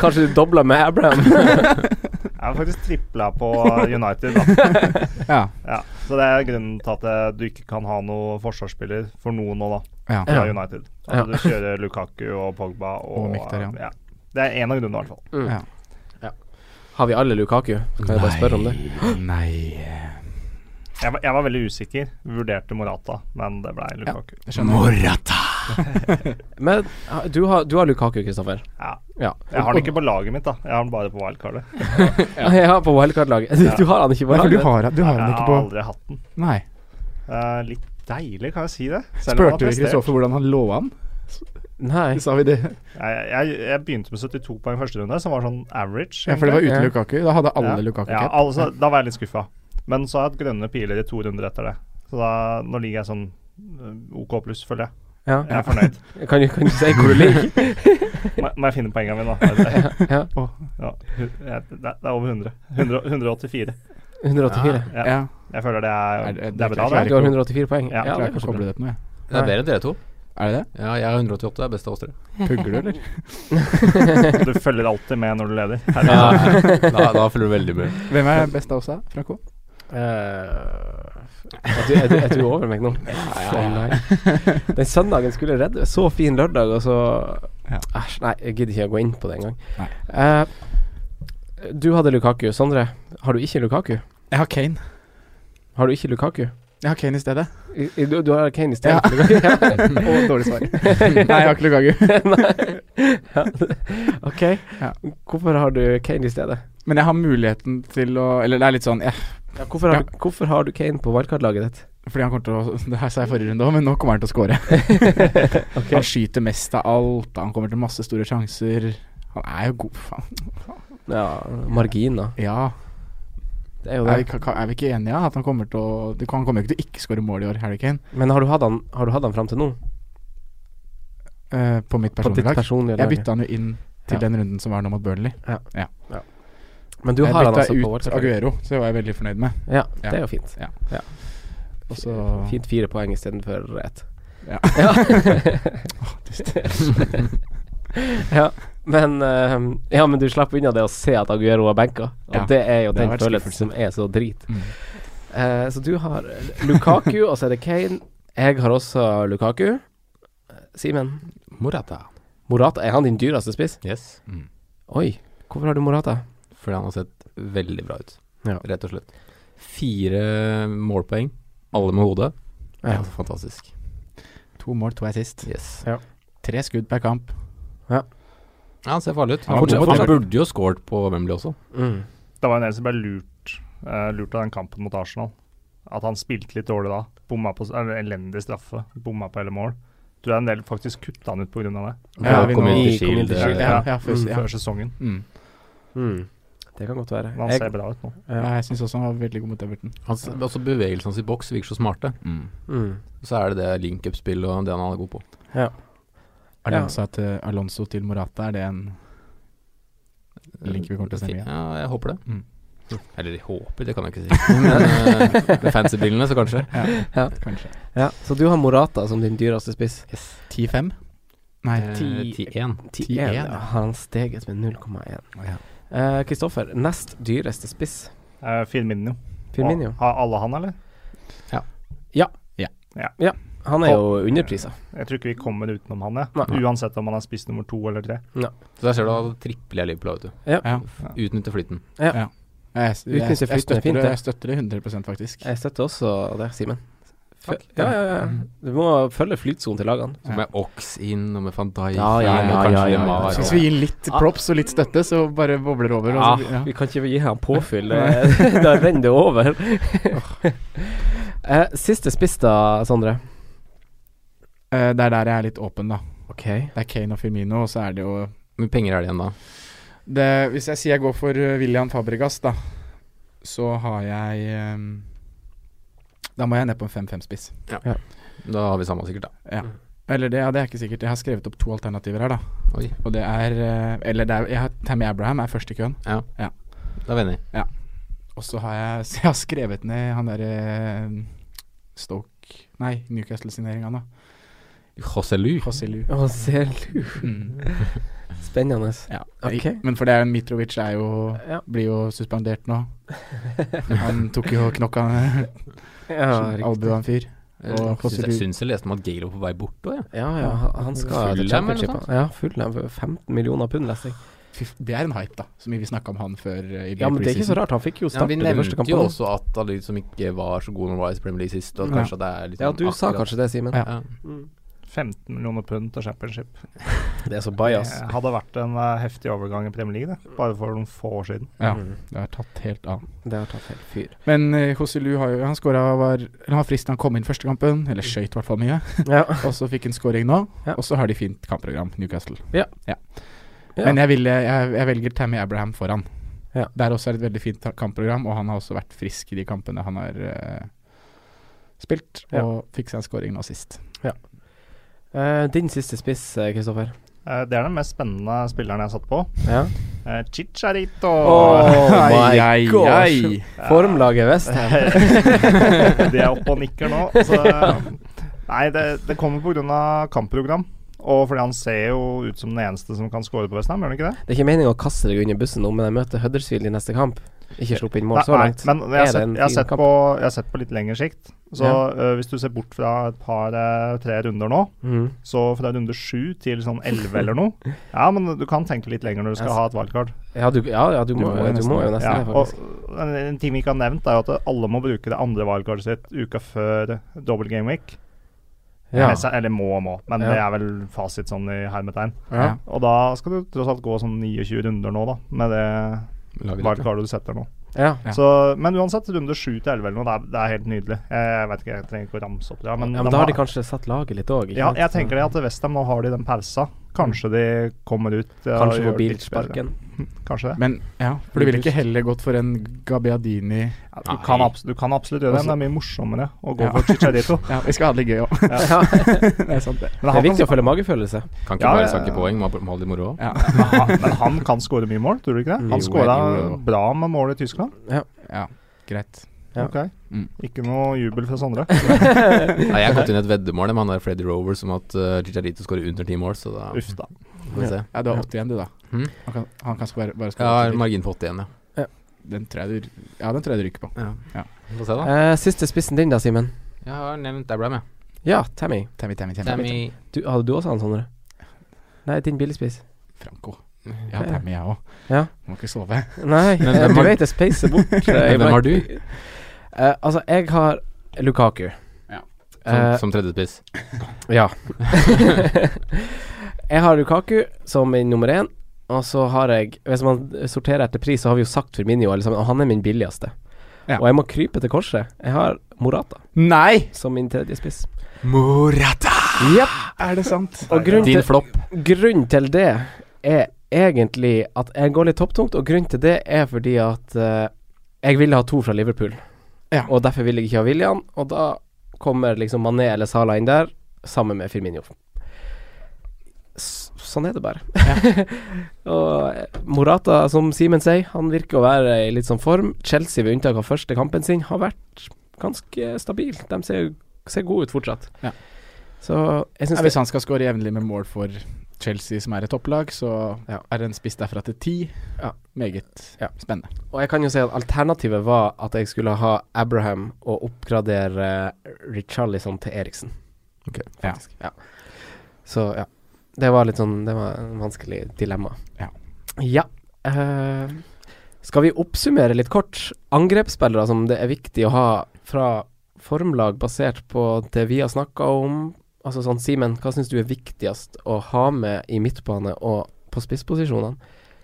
Kanskje du dobler med Abraham. Jeg har faktisk tripla på United, da. Ja. Ja, så det er grunnen til at eh, du ikke kan ha noen forsvarsspiller for noen nå, da. Ja. Fra Ja. United. Ja. Altså, du kjører Lukaku og Pogba og, Og Mkhitaryan. ja. Det er én av grunnene, i hvert fall. Mm. Ja. Har vi alle Lukaku? Kan jeg bare spørre om det? Nei Jeg, var- jeg var veldig usikker. Vurderte Morata, men det ble Lukaku. jeg skjønner. Morata! Men ha- du har, du har Lukaku, Kristoffer. Ja. Ja. Jeg har den ikke på laget mitt, da. Jeg har den bare på wildcardet. Ja. Jeg har på wildcard-laget. Du, du har han ikke på Nei, for du laget. har, du har den Jeg ikke har på aldri hatt den. Nei. Eh, litt deilig, kan jeg si det. Selv om han har Spurte du prestert. Kristoffer hvordan han lå an? Nei. Sa vi det? Jeg, jeg, jeg begynte med 72 poeng første runde, som var sånn average. Ja, for det var Ja. uten Lukaku. Da hadde alle Lukaku. Ja, cap. altså, da var jeg litt skuffa. Men så har jeg hatt grønne piler i to runder etter det. Så da, nå ligger jeg sånn eh, OK pluss, føler jeg. Ja. Jeg er fornøyd. Kan, du- kan du si hvor du ligger? Må, må jeg finne poengene mine, da? Ja. Ja, hu- jeg- det, er- det er over 100. 100. 184. 184. Ja. Ja. Jeg føler det Er er, det- det det er bra, klarer det. jeg Du har 184 poeng. Ja, Jeg det er klarer ikke å kanskje bra. koble det på noe, jeg. Det er Nei. bedre enn dere to. Er det det? Ja, jeg har 188, det er best av oss tre. Pugger du, eller? Du følger alltid med når du leder. da, da følger du veldig med. Hvem er best av oss, da? Franco? Eh, er, du, er, du, er du over meg nå? Nei. Den søndagen skulle jeg redde Så fin lørdag, og så Ja. Æsj, nei, jeg gidder ikke å gå inn på det engang. Nei. Uh, du hadde Lukaku. Sondre, har du ikke Lukaku? Jeg har Kane. Har du ikke Lukaku? Jeg har Kane i stedet. I, i, du, du har Kane i stedet. Ja. for Lukaku. Og dårlig svar. Nei, jeg har ikke Lukaku. Nei. Ja. Ok. Ja. Hvorfor har du Kane i stedet? Men jeg har muligheten til å Eller det er litt sånn eh, hvorfor, har, hvorfor har du Kane på wildcard-laget ditt? Fordi han kommer til å Det her sa jeg forrige runde òg, men nå kommer han til å score. Han skyter mest av alt, han kommer til masse store sjanser. Han er jo god, faen. Ja, marginer. Ja. Det er jo Er vi, det. ka- ka- er vi ikke enige at han kommer til å du kan- Han kommer jo ikke til å ikke skåre mål i år, Harry Kane. Men har du hatt han, har du hatt han fram til nå? Eh, på mitt På ditt personlige lag. personlige Jeg lag? bytta han jo inn til Ja. den runden som var nå mot Burnley. Men du jeg har han bytta altså på ut wildcard-laget? Aguero, så det var jeg veldig fornøyd med. Ja, Ja. det er jo fint. Ja. Ja. Og så- Fint fire poeng istedenfor ett. Ja. ja. Men, eh, ja, men du slapp unna det å se at Aguero har benka. Og Ja. det er jo Det har den vært følelsen skuffelse. som er så drit. Mm. Eh, så du har Lukaku, og så er det Kane. Jeg har også Lukaku. Simen, Morata. Morata, er han din dyreste spiss? Yes. Mm. Oi, hvorfor har du Morata? Fordi han har sett veldig bra ut, Ja. rett og slett. Fire målpoeng, alle med hodet. Det er Ja. altså fantastisk. To mål, to assist. Yes. Tre skudd per kamp. Ja, han ser farlig ut. Han Han, var god fortsatt, på han burde det. jo scoret på Wembley også. Mm. Det var en del som ble lurt, eh, lurt av den kampen mot Arsenal. At han spilte litt dårlig da. Bomma på eller, elendig straffe. Bomma på hele mål. Tror jeg en del faktisk kutta han ut pga. det. Ja, vi nå- Community i Community Shield, Shield, eh, Ja, ja, Før, først, ja. før sesongen. Mm. Mm. Det kan godt være. Men han Jeg- ser bra ut nå. ja, jeg syns også han var veldig god mot Everton. Hans, altså Bevegelsene hans i boks virker så smarte. mm. Så er det det link-up-spill og det han er god på. Alonso, til, Alonso til Morata, er det en link vi kommer til å stemme igjen? Ja, jeg håper det. Mm. Eller de håper, det kan jeg ikke si. Men eh, med fancy-brillene, så kanskje. Ja. Kanskje. Ja, så du har Morata som din dyreste spiss. 10-5? Nei, Eh, 10-1. 10-1 ja. har han steget med 0,1. Ja. Eh, Kristoffer, nest dyreste spiss. Eh, Firmino. Firmino. Og- Har alle han, eller? Han er jo underprisa. Jeg tror ikke vi kommer utenom han, jeg. Nei. Uansett om han er spiss nummer to eller tre. Så der ser du at tripler jeg Liverpool, vet du. Ja. Utnytter flyten. Jeg, jeg, jeg, Utnyttelse flyten er støtter fint, det, det. jeg støtter det 100 Eh, faktisk. Jeg støtter også det, Simen. Fø- Takk. Ja, ja, ja. Du må følge flytsonen til lagene. Så med Ox inn, og med van Dijk Ja, ja, inn, og ja, kanskje ja, ja, Neymar, ja. og- Hvis vi gir litt props og litt støtte, så bare bobler det over. Og så, Ja, ja. vi kan ikke gi ham påfyll. det- da renner det over. Eh, siste spiss da, Sondre. Eh, Det er der jeg er litt åpen, da. Ok. Det er Kane og Firmino, og så er det jo Hvor mye penger er det igjen da? det, Hvis jeg sier jeg går for eh, William Fabregas, da, så har jeg ehm, Da må jeg ned på en 5-5-spiss. Da har vi samme sikkert, da. Eller det, ja, det er ikke sikkert. Jeg har skrevet opp to alternativer her, da. Oi. Og det er eh, Eller det er, jeg har, Tammy Abraham er først i køen. Da er vi enige. Ja. Og så har jeg, så jeg har skrevet ned han derre Stoke Nei, Newcastle-signeringa, da. Joselu. Joselu. Joselu. Spennende. Mm. Ja. Ok. Men for det er jo Mitrovic er jo, blir jo suspendert nå. Han tok jo knokka Ja, riktig. albua en fyr. Jeg Og syns jeg, Joselu syns jeg leste om at Gale var på vei bort òg, jeg. Ja, ja, han skal Fulham til eller noe championship. sånt? Ja, Fulham. 15 millioner pund, leste jeg. Fy f- Det er en hype, da. Så mye vi snakka om han før. eh, i Ja, men det er ikke så preseason. rart. Han fikk jo Ja, vi starte de første nevnte jo kampene. også at alle de som ikke var så gode når de var i Premier League sist, og Ja. kanskje at det er litt Ja, sånn du sa akkurat- kanskje det, Simen. Ja. ja. 15 millioner pund til championship. Det er så Det bajas. hadde vært en eh, heftig overgang i Premier League, det. Bare for noen få år siden. Ja, Mm. det er tatt helt av. Det har tatt helt fyr. Men eh, Joselu har jo Han skåra var Eller han fristen han kom inn første kampen, eller skøyt i hvert fall mye. Ja. Og så fikk han scoring nå, Ja. og så har de fint kampprogram, Newcastle. Ja. Ja. Men jeg, ville- jeg, jeg velger Tammy Abraham foran. Ja. Der også er det et veldig fint ta- kampprogram, og han har også vært frisk i de kampene han har eh, spilt, Ja. og fikk seg en scoring nå sist. Eh, din siste spiss, eh, Kristoffer. Eh, Det er den mest spennende spilleren jeg har satt på. Ja. Eh, Chicharito! Oh my gosh. Formlaget Westham. De er oppe og nikker nå. Så, eh, nei, det, det kommer pga. kampprogram. Og fordi han ser jo ut som den eneste som kan score på Westham, gjør han ikke det? Det er ikke meningen å kaste deg under bussen nå, men jeg møter Huddersfield i neste kamp. Ikke sluppet inn mål så Nei, langt. men jeg Er har, det sett, en jeg, har fin sett kamp? på, jeg har sett på litt lengre sikt. Så Ja. øh, hvis du ser bort fra et par-tre runder nå, Mm. så fra runde sju til sånn elleve eller noe Ja, men du kan tenke litt lenger når du Jeg skal ha et wildcard. Ja, du, ja, ja, du, må, må jo du må jo nesten Ja, det, og faktisk. en, en ting vi ikke har nevnt, er jo at alle må bruke det andre wildcardet sitt uka før double game week. Ja. Eller, eller må og må, men Ja. det er vel fasit sånn i hermetegn. Ja. Og da skal du tross alt gå sånn 29 runder nå, da, med det Laget ditt, ja. wildcardet du setter nå. Ja. Ja. Så, men uansett, runde 7 til 11 eller noe, det er, det er helt nydelig. Jeg, jeg vet ikke, jeg trenger ikke å ramse opp det. ja, Men, ja, men de da har har- de kanskje satt laget litt òg. ja, jeg tenker det at Westham nå har de den pausa. Kanskje de kommer ut ja, og Kanskje gjør på det litt bedre. bilsparken. Kanskje det. Men ja, for du ville ikke heller gått for en Gabiadini Ja, du, kan abs- du kan absolutt gjøre det, Altså- men det er mye morsommere å gå Ja. for Chicharito. Ja, vi skal ha det litt gøy òg. Ja. det er sant, det. Det Men er han, viktig å kan, følge magefølelse. Kan ikke Ja, bare ja, sanke ja. poeng, må må ha litt moro òg. Ja. men han, men han kan skåre mye mål, tror du ikke det? Han Jo, skåra jo, jo. bra med mål i Tyskland. ja, greit. Ja. Ok. Mm. Ikke noe jubel fra Sondre. Nei, jeg har gått inn i et veddemål med han der Freddy Rovers om at uh, Chicharito skårer under ti mål, så da Uff da. får vi se. Ja, du har 81, du, da. Mhm. Han kan, han kan bare, bare Jeg har til. margin på 81, ja. Den tror jeg du Ja, den tror jeg du rykker på. ja. Ja. Vi får se, da. Eh, siste spissen din da, Simen. Jeg har nevnt Abraham, jeg. Ja, Tammy. Tammy, Tammy, Tammy. Tammy Du, hadde du også han, Sondre? Nei, din billigspiss. Franco. Ja, Tammy, jeg òg. Ja. Må ikke sove. Nei, Men eh, hvem du har- vet jeg spacer bort. eh, Men hvem har du? Eh, altså, jeg har Lukaku. Ja. som, Eh, som tredjespiss. ja. jeg har Lukaku som min nummer én, og så har jeg Hvis man sorterer etter pris, så har vi jo sagt Firmino, alle sammen, og han er min billigste. Ja. Og jeg må krype til korset. Jeg har Morata Nei! som min tredje spiss. Morata! Er det sant? Og grunnen Din til, flopp. grunnen til det er egentlig at jeg går litt topptungt, og grunnen til det er fordi at eh, jeg ville ha to fra Liverpool. Ja. Og derfor ville jeg ikke ha William, og da kommer liksom Mané eller Salah inn der, sammen med Firmino. S sånn er det bare. og eh, Morata, som Simen sier, han virker å være i litt sånn form. Chelsea, ved unntak av første kampen sin, har vært ganske stabil. De ser, ser gode ut fortsatt. Ja. Så jeg Ja, syns hvis han skal skåre jevnlig med mål for Chelsea, som er et topplag, så Ja. er det en spiss derfra til ti. Ja. Meget Ja. spennende. Og jeg kan jo si at alternativet var at jeg skulle ha Abraham og oppgradere Richarlison til Eriksen. Ok, faktisk. Ja. Så ja. Det var litt sånn Det var en vanskelig dilemma. Ja. Ja. eh, skal vi oppsummere litt kort? Angrepsspillere som det er viktig å ha fra formlag basert på det vi har snakka om. Altså sånn, Simen, hva syns du er viktigst å ha med i midtbane og på spissposisjonene?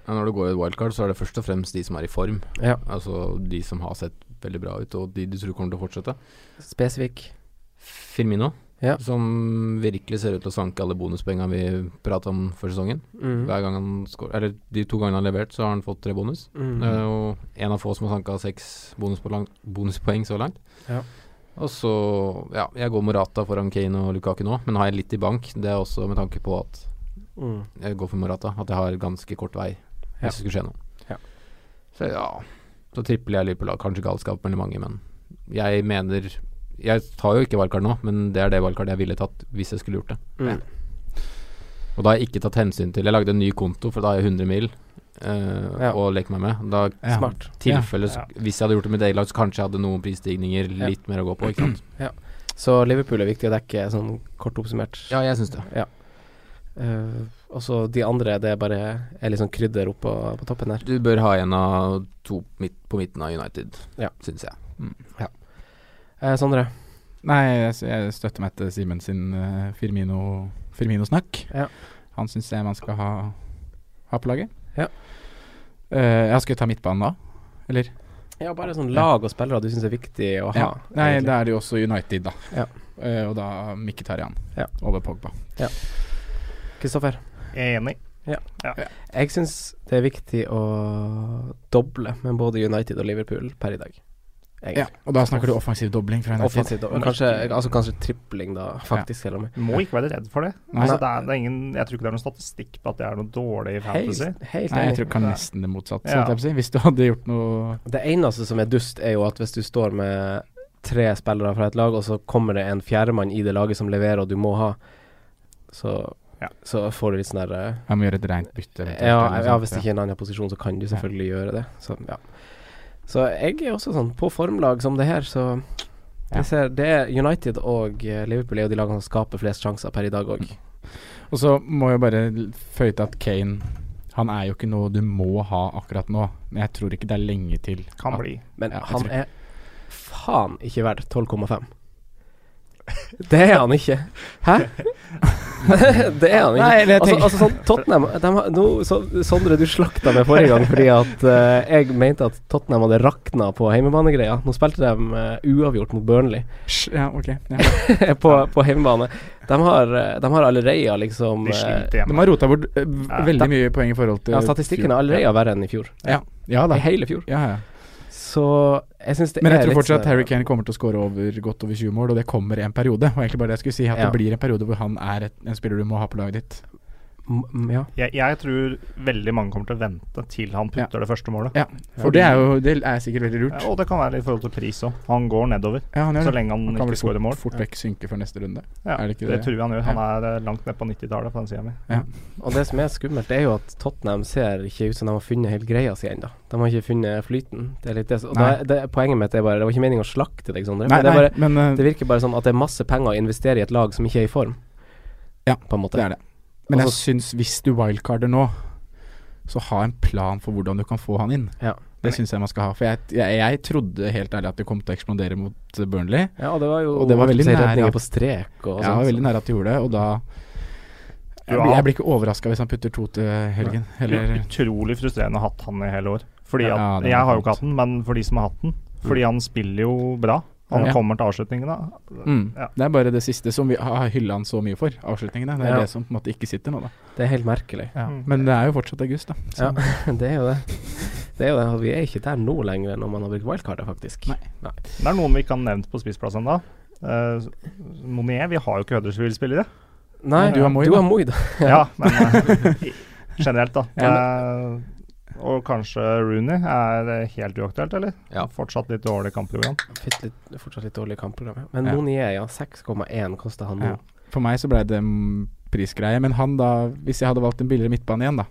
Ja, når du går i et wildcard, så er det først og fremst de som er i form. Ja. Altså de som har sett veldig bra ut, og de du tror kommer til å fortsette. Spesifikk. Firmino, Ja. som virkelig ser ut til å sanke alle bonuspoengene vi prata om før sesongen. Mm. Hver gang han scorer, eller de to gangene han har levert, så har han fått tre bonus. Mm. Det er jo en av få som har sanka seks bonuspoeng, bonuspoeng så langt. Ja. Og så, ja, jeg går Morata foran Kane og Lukaku nå, men har jeg litt i bank. Det er også med tanke på at Mm. jeg går for Morata, at jeg har ganske kort vei Ja. hvis det skulle skje noe. Ja. Så ja, så tripler jeg Liverpool. da. Kanskje galskap mellom mange, men jeg mener Jeg tar jo ikke wildcard nå, men det er det wildcardet jeg ville tatt hvis jeg skulle gjort det. Mm. Og da har jeg ikke tatt hensyn til Jeg lagde en ny konto, for da har jeg 100 mil eh, Ja. å leke meg med. Da Ja. Smart. tilfelle Ja. sk- Hvis jeg hadde gjort det med eget lag, så kanskje jeg hadde noen prisstigninger, Ja. litt mer å gå på, ikke sant. Ja. Så Liverpool er viktig å dekke, sånn kort oppsummert. Ja, jeg syns det. Ja. Eh, og så de andre, det er bare er litt sånn krydder oppå på toppen der. Du bør ha en av to midt, på midten av United, Ja. syns jeg. Eh, Sondre, Nei, jeg, jeg støtter meg til Simen sin eh, Firmino, Firmino-snakk. Ja. Han syns jeg man skal ha, ha på laget. Ja. Eh, jeg skal jo ta midtbanen da, eller? ja, bare sånn lag og spillere du syns er viktig å ha. Ja. Nei, egentlig. da er det jo også United, da. Ja. Eh, og da Mkhitaryan Ja. over Pogba. Kristoffer, Jeg er enig. jeg syns det er viktig å doble med både United og Liverpool per i dag. Ja, og da snakker du offensiv dobling fra United. Offensivt, og kanskje, altså kanskje tripling, da, faktisk, til og med. Du må ikke være redd for det. Nei. Altså, det er, det er ingen, jeg tror ikke det er noen statistikk på at det er noe dårlig i fantasy. Helt, helt Nei, jeg enig. tror kan nesten det motsatte. Ja. holdt jeg på å si. Hvis du hadde gjort noe Det eneste som er dust, er jo at hvis du står med tre spillere fra et lag, og så kommer det en fjerdemann i det laget som leverer, og du må ha, så, Ja. så får du litt sånn der eh, Jeg må gjøre et rent bytte. eventuelt, Ja, eller noe ja, sånt, hvis det ja. ikke er en annen posisjon, så kan du selvfølgelig gjøre det. Så, ja. så jeg er også sånn på formlag som det her, så Ja. jeg ser, det er United og eh, Liverpool er jo de lagene som skaper flest sjanser per i dag òg. Og så må jeg bare l- føye til at Kane Han er jo ikke noe du må ha akkurat nå, men jeg tror ikke det er lenge til. Kan at- bli. Men Ja, jeg han tror- er faen ikke verdt 12,5. Det er han ikke. Hæ? det er han ikke. Nei, eller jeg altså, tenker- altså sånn Tottenham de har, nå, så, Sondre, du slakta meg forrige gang fordi at eh, jeg mente at Tottenham hadde rakna på heimebanegreia. Nå spilte de eh, uavgjort mot Burnley Sj, Ja, ok. Ja. på, på heimebane. De har, eh, de har allerede liksom De eh, sliter De hjemme. har rota bort eh, v- Ja, veldig da- mye poeng i forhold til ja, Statistikken er fjor. allerede verre enn i fjor. Ja, ja da. I hele fjor. Ja, ja. Så jeg syns det Men er jeg tror litt fortsatt sånn- at Harry Kane kommer til å skåre over, godt over 20 mål, og det kommer i en periode. Og egentlig bare det jeg skulle si, at Ja. det blir en periode hvor han er et, en spiller du må ha på laget ditt. M- Ja. Jeg, jeg tror veldig mange kommer til å vente til han putter det første målet. Ja, for det er jo det er sikkert veldig Ja, lurt. og det kan være litt i forhold til pris òg. Han går nedover Ja, han gjør så det. lenge han, Han kan vel ikke fort, skårer mål. fort vekk synke for neste runde. Ja, Er det det, ikke det? tror jeg han gjør. Han er eh, langt ned på 90-tallet på den sida mi. Og det som er skummelt, det er jo at Tottenham ser ikke ut som de har funnet hele greia si ennå. De har ikke funnet flyten. Det er litt det, som- og Nei. da, det, poenget mitt er bare Det var ikke meningen å slakte deg, Sondre. Nei, men det, er nei, bare, men eh, det virker bare som at det er masse penger å investere i et lag som ikke er i form. Ja, på en måte. Det er det. Men jeg Altså- syns hvis du wildcarder nå, så ha en plan for hvordan du kan få han inn. Ja. Det syns jeg man skal ha. For jeg, jeg, jeg trodde helt ærlig at det kom til å eksplodere mot eh, Burnley. Ja, og det var jo Og det var veldig si, nær, redninger ja. på strek og sånn, Jeg var sånt. veldig nære at de gjorde det, og da Du Jeg, har- blir- jeg blir ikke overraska hvis han putter to til helgen. Eller Utrolig frustrerende å ha hatt han i hele år. Fordi at, Ja, det er jeg har jo sant. Mm. ikke hatt den, men for de som har hatt den. Fordi han spiller jo bra. Han Ja. kommer til avslutningen, da. mm. Ja. Det er bare det siste som vi har hylla han så mye for, avslutningene. Det er Ja. det som på en måte ikke sitter nå, da. Det er helt merkelig. Mm. Men det er jo fortsatt august, da. Så Ja, det er jo det. Det er jo det. og Vi er ikke der nå lenger når man har brukt wildcardet, faktisk. Nei. Det er noen vi ikke har nevnt på spissplass ennå. Uh, Monier, vi har jo ikke Huddersfield-spillere. Nei, Du har Moi, du da. har Moi, da. Ja, men eh, generelt, da. Eh, og kanskje Rooney er eh, helt uaktuelt, eller? Ja. Fortsatt litt dårlig kampprogram. Fikk litt, fortsatt litt dårlig kampprogram. ja. Men Ja. Monier, ja. 6,1 koster han nå. Ja. For meg så blei det mm, prisgreie, men han da Hvis jeg hadde valgt en billigere midtbane igjen, da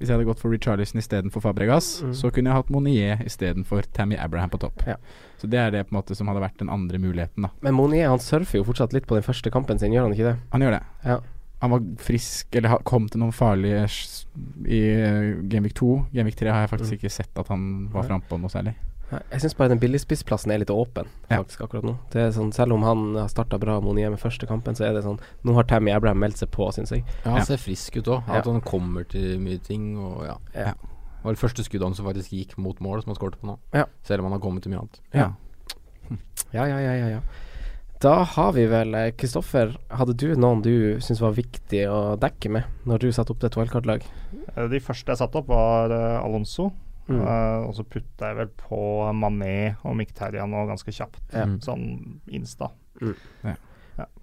Hvis jeg hadde gått for Richarlison istedenfor Fabregas, Mm. så kunne jeg hatt Monier istedenfor Tammy Abraham på topp. Ja. Så det er det på en måte som hadde vært den andre muligheten, da. Men Monier han surfer jo fortsatt litt på den første kampen sin, gjør han ikke det? Han gjør det. Ja. Han var frisk, eller ha- kom til noen farlige s- i eh, Genvik 2. Genvik 3 har jeg faktisk Mm. ikke sett at han var Nei. frampå noe særlig. Nei, Jeg syns bare den billigspissplassen er litt åpen, Ja. faktisk, akkurat nå. Det er sånn, Selv om han har starta bra Monier med første kampen, så er det sånn Nå har Tammy Abraham meldt seg på, syns jeg. Ja, han Ja. ser frisk ut òg. At han kommer til mye ting og ja. Ja. Det var det første skuddet hans som faktisk gikk mot mål, som han skåret på nå. Ja. Selv om han har kommet til mye annet. Ja. Ja, ja, ja, ja. ja. Da har vi vel eh, Kristoffer, hadde du noen du syns var viktig å dekke med når du satte opp ditt wildcard-lag? Eh, de første jeg satte opp, var eh, Alonso. Mm. Eh, og så putta jeg vel på Mané og Mkhitaryan nå ganske kjapt. Ja. Sånn insta.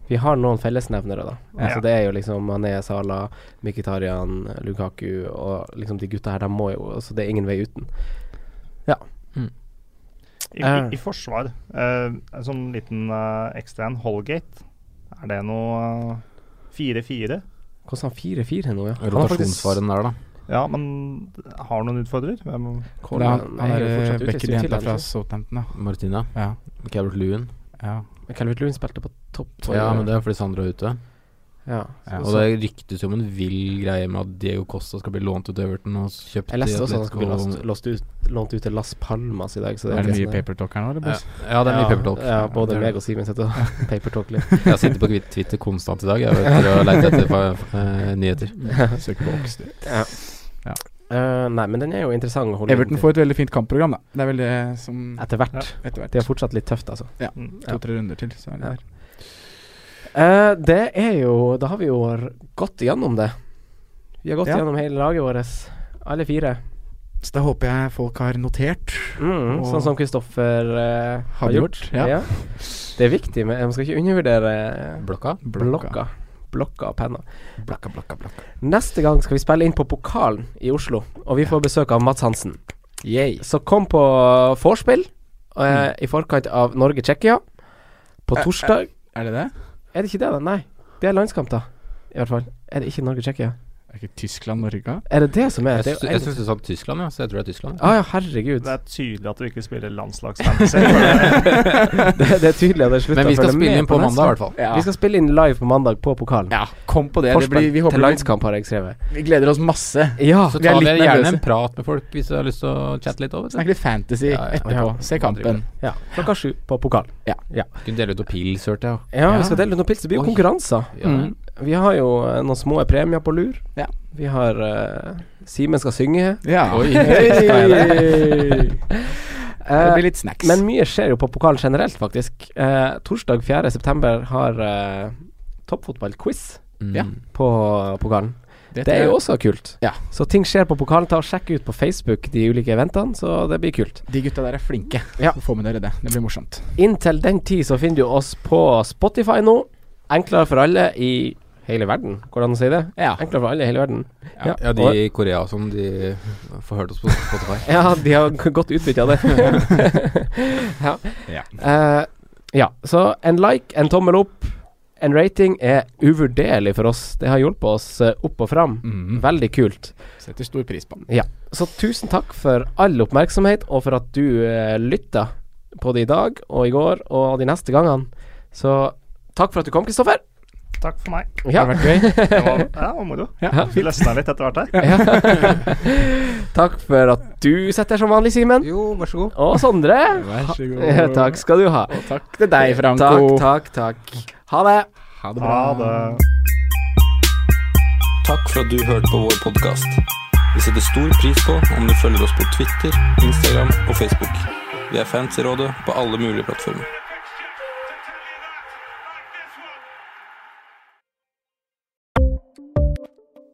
Vi har noen fellesnevnere, da. Altså, Ja. Det er jo liksom Mané, Salah, Mkhitaryan, Lukaku og liksom de gutta her. De må jo altså, Det er ingen vei uten. Ja. I, i, i forsvar, eh, en sånn liten eh, ekstra en, Holgate. Er det noe eh, 4-4? Kosta han 4-4 nå, ja. Han har faktisk- Rotasjonsfaren der, da. Ja, men har noen utfordrer? Hvem? Det er han, han er eh, Becker henta fra Southampton, da. Martina. Ja. Calvert Lewin. ja. Men Calvert Lewin spilte på topp. Ja, men det er fordi Sandra er ute. Ja. Ja, og det ryktes jo om en vill greie med at Diego Costa skal bli lånt ut til Everton og s- kjøpt Jeg leste i også at han Atletico. skulle bli låst, låst ut, lånt ut til Las Palmas i dag. Så Er det mye nesten- papertalk her nå, eller, ja. boys? ja, det er mye papertalk. Ja, både Det er meg det. og Simen sitter og papertalker litt. Jeg sitter på Twitter- Twitter konstant i dag Jeg vet å leite etter fa- eh, nyheter. Søker på Oxter. Ja. Ja. Eh, nei, men den er jo interessant å holde Everton inn til. får et veldig fint kampprogram, da. Det er vel det som etter hvert. etter hvert. Det er fortsatt litt tøft, altså. Ja, Ja. To-tre runder til, så er det Ja. der. Eh, det er jo Da har vi jo r- gått igjennom det. Vi har gått Ja. igjennom hele laget vårt, alle fire. Så da håper jeg folk har notert. Mm, Og- sånn som Kristoffer eh, har Hadde gjort. gjort, ja. Det er viktig, men man skal ikke undervurdere Blokka? blokka. Blokka og penna. Blokka, blokka, blokka. Neste gang skal vi spille inn på Pokalen i Oslo, og vi får besøk av Mats Hansen. Yay. Så kom på vorspiel eh, i forkant av Norge-Tsjekkia på torsdag. Er det det? Er det ikke det, da? Nei. Det er landskamp, da. I hvert fall. Er det ikke Norge-Tsjekkia? Er ikke Tyskland-Norge? Er det det som Jeg er det? syns jeg syns du sa Tyskland, ja, så jeg tror det er Tyskland. Å ja, herregud. Det er tydelig at du ikke spiller landslagsfantasy. for det- Det, det er tydelig at jeg slutta Men vi skal spille inn på mandag, i hvert fall. Vi skal spille inn live på mandag på pokalen. Ja, kom på det. det Forspill blir, vi, håper til vi, landskamp, har jeg skrevet. vi gleder oss masse. Ja, Så vi er tar vi litt gjerne nervøse. en prat med folk hvis du har lyst til å chatte litt òg. Snakk litt fantasy Ja, ja, etterpå. ja. Se kampen. ja. klokka sju på pokalen. Kunne dele ut noen pils, hørte jeg. Ja, vi skal dele ut noen pils. Det blir jo Oi. konkurranser. Ja, det. Mm. Vi har jo eh, noen små premier på lur. Ja. Vi har eh, Simen skal synge. Ja. Oi. det Eh, blir litt snacks. men mye skjer jo på pokalen generelt, faktisk. Eh, torsdag 4.9 har eh, toppfotballquiz Mm. Ja. eh, på pokalen. Det, er jo også kult. Ja. Så ting skjer på pokalen. Ta og Sjekk ut på Facebook de ulike eventene, så det blir kult. De gutta der er flinke. Ja. Få med dere det. Det blir morsomt. Inntil den tid så finner du oss på Spotify nå. Enklere for alle i hele verden, går det an å si det? Ja. Enklere for alle i hele verden. Ja, ja, og- de i Korea og sånn, de får hørt oss på Spotify. Ja, de har g- godt utbytte av det. ja. Ja. Eh, ja, så en like, en tommel opp, en rating er uvurderlig for oss. Det har hjulpet oss eh, opp og fram. Mm. Veldig kult. Setter stor pris på. Ja. Så tusen takk for all oppmerksomhet, og for at du eh, lytta både i dag og i går og de neste gangene. Så takk for at du kom, Kristoffer. Takk for meg. Ja. Har det vært gøy? Det var, ja, det var moro. Ja. Vi løsna litt etter hvert her. Takk for at du sitter her som vanlig, Simen. Jo, vær så god. Og Sondre. Vær så god. Ja, Takk skal du ha. Og takk til deg, Takk, Franco. takk, takk. Ha det. Ha det bra. Ha det. Takk for at du hørte på vår podkast. Vi setter stor pris på om du følger oss på Twitter, Instagram og Facebook. Vi er fans i rådet på alle mulige plattformer.